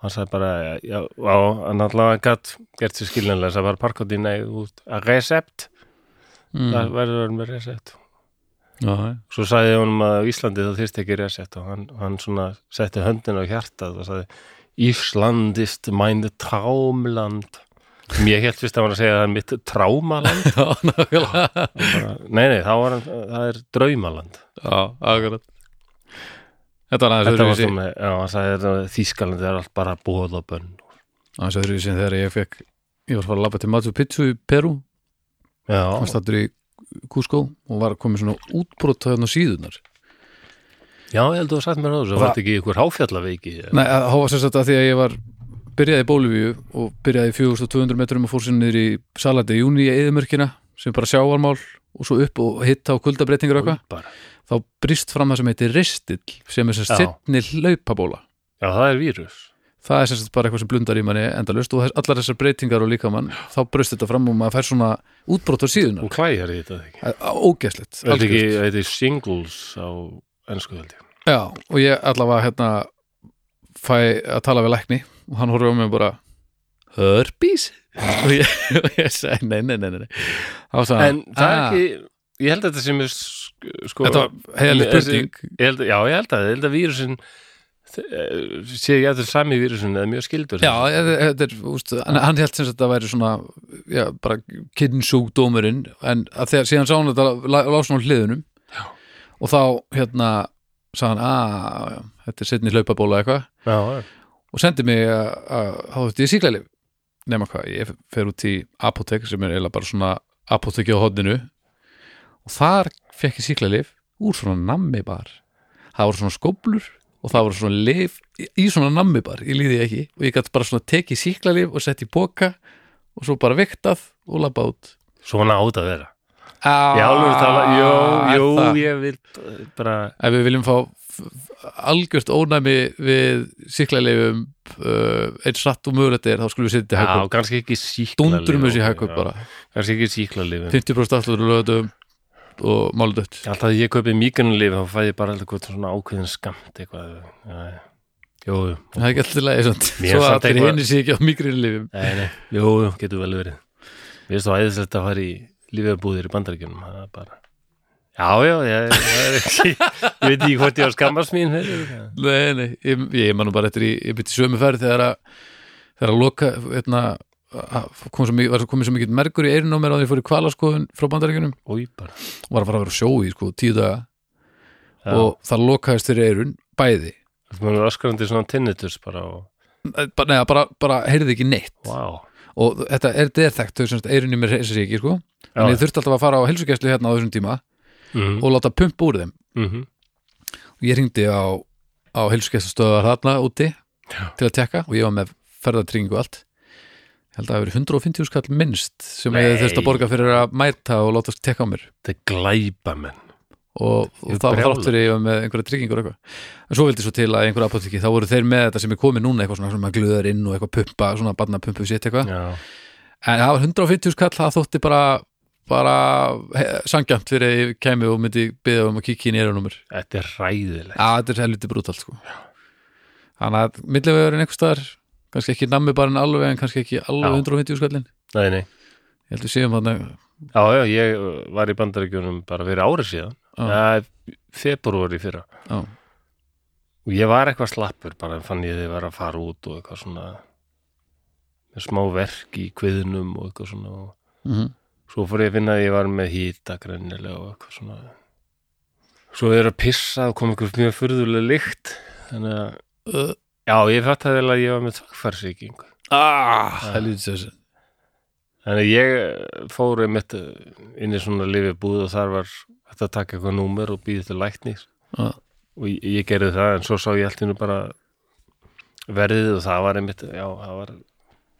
Speaker 1: hann sagði bara já, á, hann allavega gatt gert sér skiljanlega, sagði bara parkodín nei, út, að recept það
Speaker 2: mm.
Speaker 1: verður að vera með recept
Speaker 2: já,
Speaker 1: svo sagði ég honum að á Íslandi það þyrst ekki resett og hann, hann svona setti höndin á hjartað og sagði Ísland is mein Traumland sem ég held fyrst að hann var að segja að það er mitt trámaland
Speaker 2: já, nákvæmlega
Speaker 1: bara, nei, nei, þá var hann, það er draumaland
Speaker 2: Já, akkurat Þetta var aðeins
Speaker 1: þetta var
Speaker 2: öðruvísi
Speaker 1: svona, já, hann sagði að Þýskalandi er allt bara bóð og bönn
Speaker 2: aðeins öðruvísi en þegar ég fekk ég var að fara að labba til Machu Picchu í Peru hann
Speaker 1: já,
Speaker 2: stattur í Cusco og var komið svona útbrot þarna á síðunar
Speaker 1: Já, ég held að þú sagt mér á þessu,
Speaker 2: Og
Speaker 1: var
Speaker 2: það-
Speaker 1: þetta ekki ykkur háfjallaveiki?
Speaker 2: Nei, að hafa sér sagt að því að ég var byrjaði í Bólivíu og byrjaði í 4200 metrum og fór sér niður í Salade Júni í Eðumörkina sem er bara sjáarmál og svo upp og hitta á kuldabreitingar og eitthvað
Speaker 1: Bara.
Speaker 2: þá brist fram það sem heitir ristill sem er sér
Speaker 1: Já.
Speaker 2: setni hlaupabóla
Speaker 1: Já, það er vírus.
Speaker 2: það er sér sagt bara eitthvað sem blundar í manni endalust og þess, allar þessar breytingar og líkamann þá brist þetta fram og maður fær svona útbrotur síðuna
Speaker 1: Hún klæjar í þetta ekki.
Speaker 2: ógeðslegt
Speaker 1: Þetta ekki,
Speaker 2: algjört.
Speaker 1: þetta er singles á ennsku held ég.
Speaker 2: Já, og ég allavega hérna fæ að tala við lækni og hann horfði á mig bara Hörpís? og ég, og ég segi, nei, nei, nei, nei Þá sagði
Speaker 1: En
Speaker 2: hann,
Speaker 1: það er
Speaker 2: "Ah,
Speaker 1: ekki, ég held að þetta sem er sk- sko...
Speaker 2: Þetta var heiðaleg
Speaker 1: Þessi-
Speaker 2: spurning
Speaker 1: Ég held, já, ég held að, ég held að vírusin eh, sé ég að þetta er sami vírusin eða mjög skildur
Speaker 2: Já, ég- þetta er, úst, hann, hann held sem sagt að þetta væri svona já, bara kynnsjúkdómurinn en að þegar síðan sá hann þetta lá- lásin á hliðunum
Speaker 1: Já.
Speaker 2: og þá hérna sagði hann, að þetta er setni hlaupabóla eitthvað
Speaker 1: já, já.
Speaker 2: og sendi mig að að hafa þetta í síklarlif nema hvað, ég fer út í apotek sem er eiginlega bara svona apoteki á hodninu og þar fekk ég síklarlif úr svona nammibar það voru svona skóblur og það voru svona lif í í svona nammibar, ég líði ekki og ég gætt bara svona tekið síklarlif og sett í boka og svo bara viktað og labba út
Speaker 1: Svona átt að vera
Speaker 2: ah,
Speaker 1: Já, alveg tala, jú, jú,
Speaker 2: það.
Speaker 1: ég vil eh, bara
Speaker 2: ef við viljum fá f- f- algjört ónæmi við síklarlifum uh, eins satt og mögulegt er þá skulum við setja í
Speaker 1: Já,
Speaker 2: hægum
Speaker 1: kannski ekki síkla
Speaker 2: dundurum þessi hækkup bara
Speaker 1: Kannski ekki síkla
Speaker 2: 50% afslutur lögatum og máludött
Speaker 1: Alltaf að ég kaupi míkanulif þá fæ ég bara alltaf hvort svona ákveðin skamt eitthvað já, já. Jú, jú,
Speaker 2: það er ekki alltaf lægi samt
Speaker 1: Mér
Speaker 2: svo
Speaker 1: er
Speaker 2: að
Speaker 1: samt
Speaker 2: allir
Speaker 1: eitthvað-
Speaker 2: henni sé ekki á mikrinlifum
Speaker 1: nei, nei, jú, jú, getur vel verið Mér finnst þá æðislegt að fara í lífjarbúðir í bandaríkjunum það er bara Já, já, ég, það er ekki, ég veit ekki hvort ég var skammast mín fyrir það.
Speaker 2: nei, nei, ég, ég man nú bara eftir í, ég byrti sömu ferð þegar að þegar að loka hérna, að- kom svo mikið, var svo komið svo mikið mergur í eirinn á mér á því ég fór í kvalaskoðun frá bandaríkjunum
Speaker 1: Új, bara.
Speaker 2: og var að fara að vera á sjói sko, tíu daga
Speaker 1: Já.
Speaker 2: og það lokaðist fyrir eirun bæði
Speaker 1: Það er öskrandi svona tinnitus bara og,
Speaker 2: bara, neða, Eh, bara, bara heyrði ekki neitt
Speaker 1: wow.
Speaker 2: og þetta er deðþekkt, eirun í mér reisir sig ekki sko. en ég þurfti alltaf að fara á helsugæslu hérna á þessum tíma
Speaker 1: mm,
Speaker 2: og láta pumpa úr þeim
Speaker 1: mm,
Speaker 2: og ég ringdi á, á heilsugæstastöðar þarna úti
Speaker 1: Já.
Speaker 2: til að tekka og ég var með ferðatryggingu og allt ég held að það hefur 150 skall minnst sem Nei.
Speaker 1: Nei.
Speaker 2: ég þurfti að borga fyrir að mæta og láta tekka á mér
Speaker 1: Þetta er glæbamenn.
Speaker 2: og,
Speaker 1: Ég er
Speaker 2: og það var
Speaker 1: brjálaður.
Speaker 2: þáttur ég var með einhverja tryggingur og eitthvað en svo vildi svo til að einhverja apotekki þá voru þeir með þetta sem er komið núna eitthvað svona sem maður glöðar inn og eitthvað pumpa, svona barnapumpu sitt eitthvað
Speaker 1: Já.
Speaker 2: en það var 150 skall, það þótti bara bara he- sangjant fyrir að ég kemi og myndi byggja um að kíkja í nýranúmer
Speaker 1: Þetta er ræðilegt.
Speaker 2: Já, þetta er helviti brútalt sko Þannig að millivegurinn einhver staðar kannski ekki nammi bara en alveg en kannski ekki alveg
Speaker 1: Já.
Speaker 2: 150 skallin
Speaker 1: Nei, nei.
Speaker 2: Ég held við séum þannig
Speaker 1: Já, já, ég uh, var í bandaríkjunum bara fyrir ári síðan.
Speaker 2: Já,
Speaker 1: Það er februar í fyrra.
Speaker 2: já,
Speaker 1: Og ég var eitthvað slappur bara en fann ég þið vera að fara út og eitthvað svona með smá verk í kviðnum og eitthvað svona. Og
Speaker 2: mhm,
Speaker 1: svo fór ég að finna að ég var með hýta grænilega og eitthvað svona. Svo er að pissa og kom eitthvað mjög furðulega lykt. Þannig að,
Speaker 2: Uh.
Speaker 1: já, ég fætti að vel að ég var með tvakfarsíkingu.
Speaker 2: Ah, helviti þessi
Speaker 1: Þannig að ég eh, fór einmitt eh, inn í svona lifibúð og þar var þetta að taka eitthvað númer og býði til læknir
Speaker 2: Já.
Speaker 1: og ég, ég gerði það en svo sá ég allt í nú bara verðið og það var einmitt, já, það var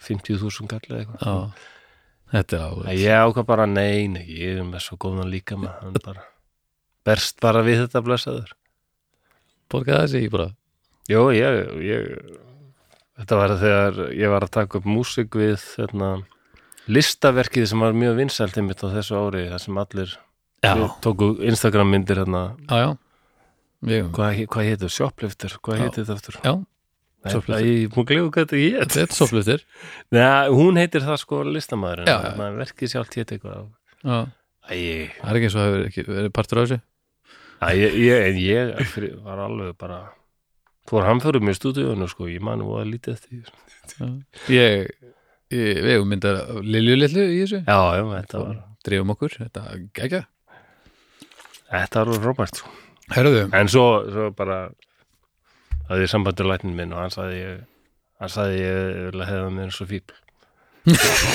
Speaker 1: 50.000 kall eða eitthvað.
Speaker 2: Já, þetta er alveg
Speaker 1: En ég ákvað bara, nei, nei, ég er með svo góðan líka maður, hann bara berst bara við þetta blessaður.
Speaker 2: Borgaði þessi ekki bara
Speaker 1: Jó, ég, ég, þetta var þegar ég var að taka upp músík við þarna, listaverkið sem var mjög vinsælt einmitt á þessu ári, þar sem allir
Speaker 2: Já,
Speaker 1: Við tóku Instagram myndir hérna
Speaker 2: já, já Við,
Speaker 1: hvað, hvað heitir, shoplifter, hvað
Speaker 2: Já.
Speaker 1: heitir þetta aftur?
Speaker 2: Já,
Speaker 1: Nei,
Speaker 2: shoplifter.
Speaker 1: Ég múið glefu hvað þetta hét
Speaker 2: þetta er soflutir
Speaker 1: Nei, hún heitir það sko listamæðurinn
Speaker 2: Já, já.
Speaker 1: Maður verkið sjálft hét eitthvað
Speaker 2: Já,
Speaker 1: Æ, ég,
Speaker 2: það er ekki eins og hefur ekki verið partur á þessu
Speaker 1: æ, ég, ég, en ég fyrir, var alveg bara fór hamförum í stúdíunum sko ég mani voða lítið eftir því, sko.
Speaker 2: Ég, ég við eigum myndar Lilju litlu í þessu
Speaker 1: Já, já, þetta var
Speaker 2: Dreifum okkur, þetta gegja
Speaker 1: þetta var Robert sko
Speaker 2: Herðu,
Speaker 1: En svo, svo bara það er sambandur læknin minn og hann sagði ég hann sagði ég vil að hefða mér eins og fíbl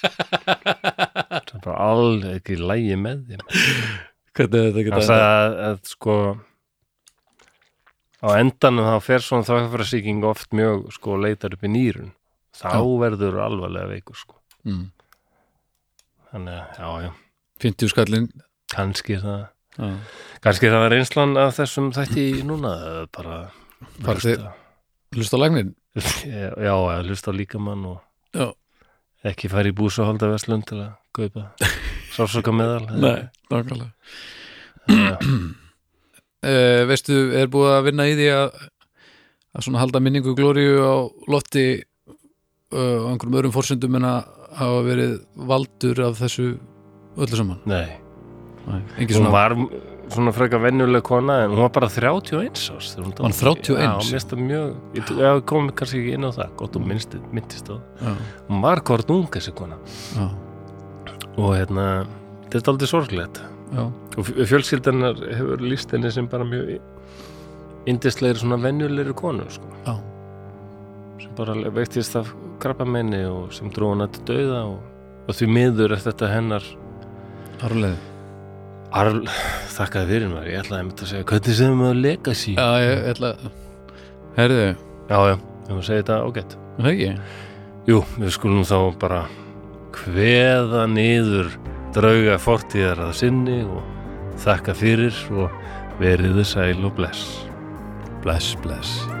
Speaker 1: Það er bara alveg ekki lægi með þeim
Speaker 2: hvernig þetta
Speaker 1: hann
Speaker 2: geta
Speaker 1: sagði að, að sko á endanum þá fer svona þvakkafærasýking oft mjög sko leitar upp í nýrun þá
Speaker 2: Já.
Speaker 1: verður alvarlega veikur sko
Speaker 2: mm.
Speaker 1: þannig að, já, já,
Speaker 2: 50 skallin
Speaker 1: kannski er það
Speaker 2: já.
Speaker 1: kannski er það reynslan af þessum þætti núna eða bara
Speaker 2: Bara
Speaker 1: hlusta-
Speaker 2: hlusta á lagnin
Speaker 1: Eh, já, að hlusta á líkamann og
Speaker 2: Já.
Speaker 1: ekki fara í búsaholdaverslun til að kaupa sársöka meðal
Speaker 2: nákvæmlega
Speaker 1: Já.
Speaker 2: uh, Veistu, er búið að vinna í því að að svona halda minningu glóriu á lofti uh, á einhverjum öðrum forsendum en að hafa verið valdur af þessu öllu saman
Speaker 1: nei
Speaker 2: Engi
Speaker 1: hún
Speaker 2: svona
Speaker 1: var svona frekar venjuleg kona en hún var bara 31 árs þegar hún dó.
Speaker 2: Var hún 31?
Speaker 1: Já, mér finnst það mjög ég, já, ég kom kannski ekki inn á það, gott hún minnst, myndist á það.
Speaker 2: já,
Speaker 1: hún var hvort ung þessi kona
Speaker 2: já,
Speaker 1: og hérna, þetta er aldrei sorglegt
Speaker 2: já,
Speaker 1: og fj- fjölskyldanar hefur líst henni sem bara mjög indislegri svona venjulegri konu sko,
Speaker 2: já,
Speaker 1: sem bara veiktist af krabba menni og sem dró hana til dauða og, og því miður er þetta hennar
Speaker 2: árlega
Speaker 1: Arl, þakkaði fyrir maður, ég ætlaði einmitt að segja hvernig sem maður legacy
Speaker 2: Já, ég ég ætla Herðu,
Speaker 1: Já, já, ef maður segir þetta ágætt
Speaker 2: er það ekki?
Speaker 1: Jú, við skulum þá bara kveða niður drauga fortíðar að sinni og þakka fyrir og veriðu sæl og bless.
Speaker 2: Bless, bless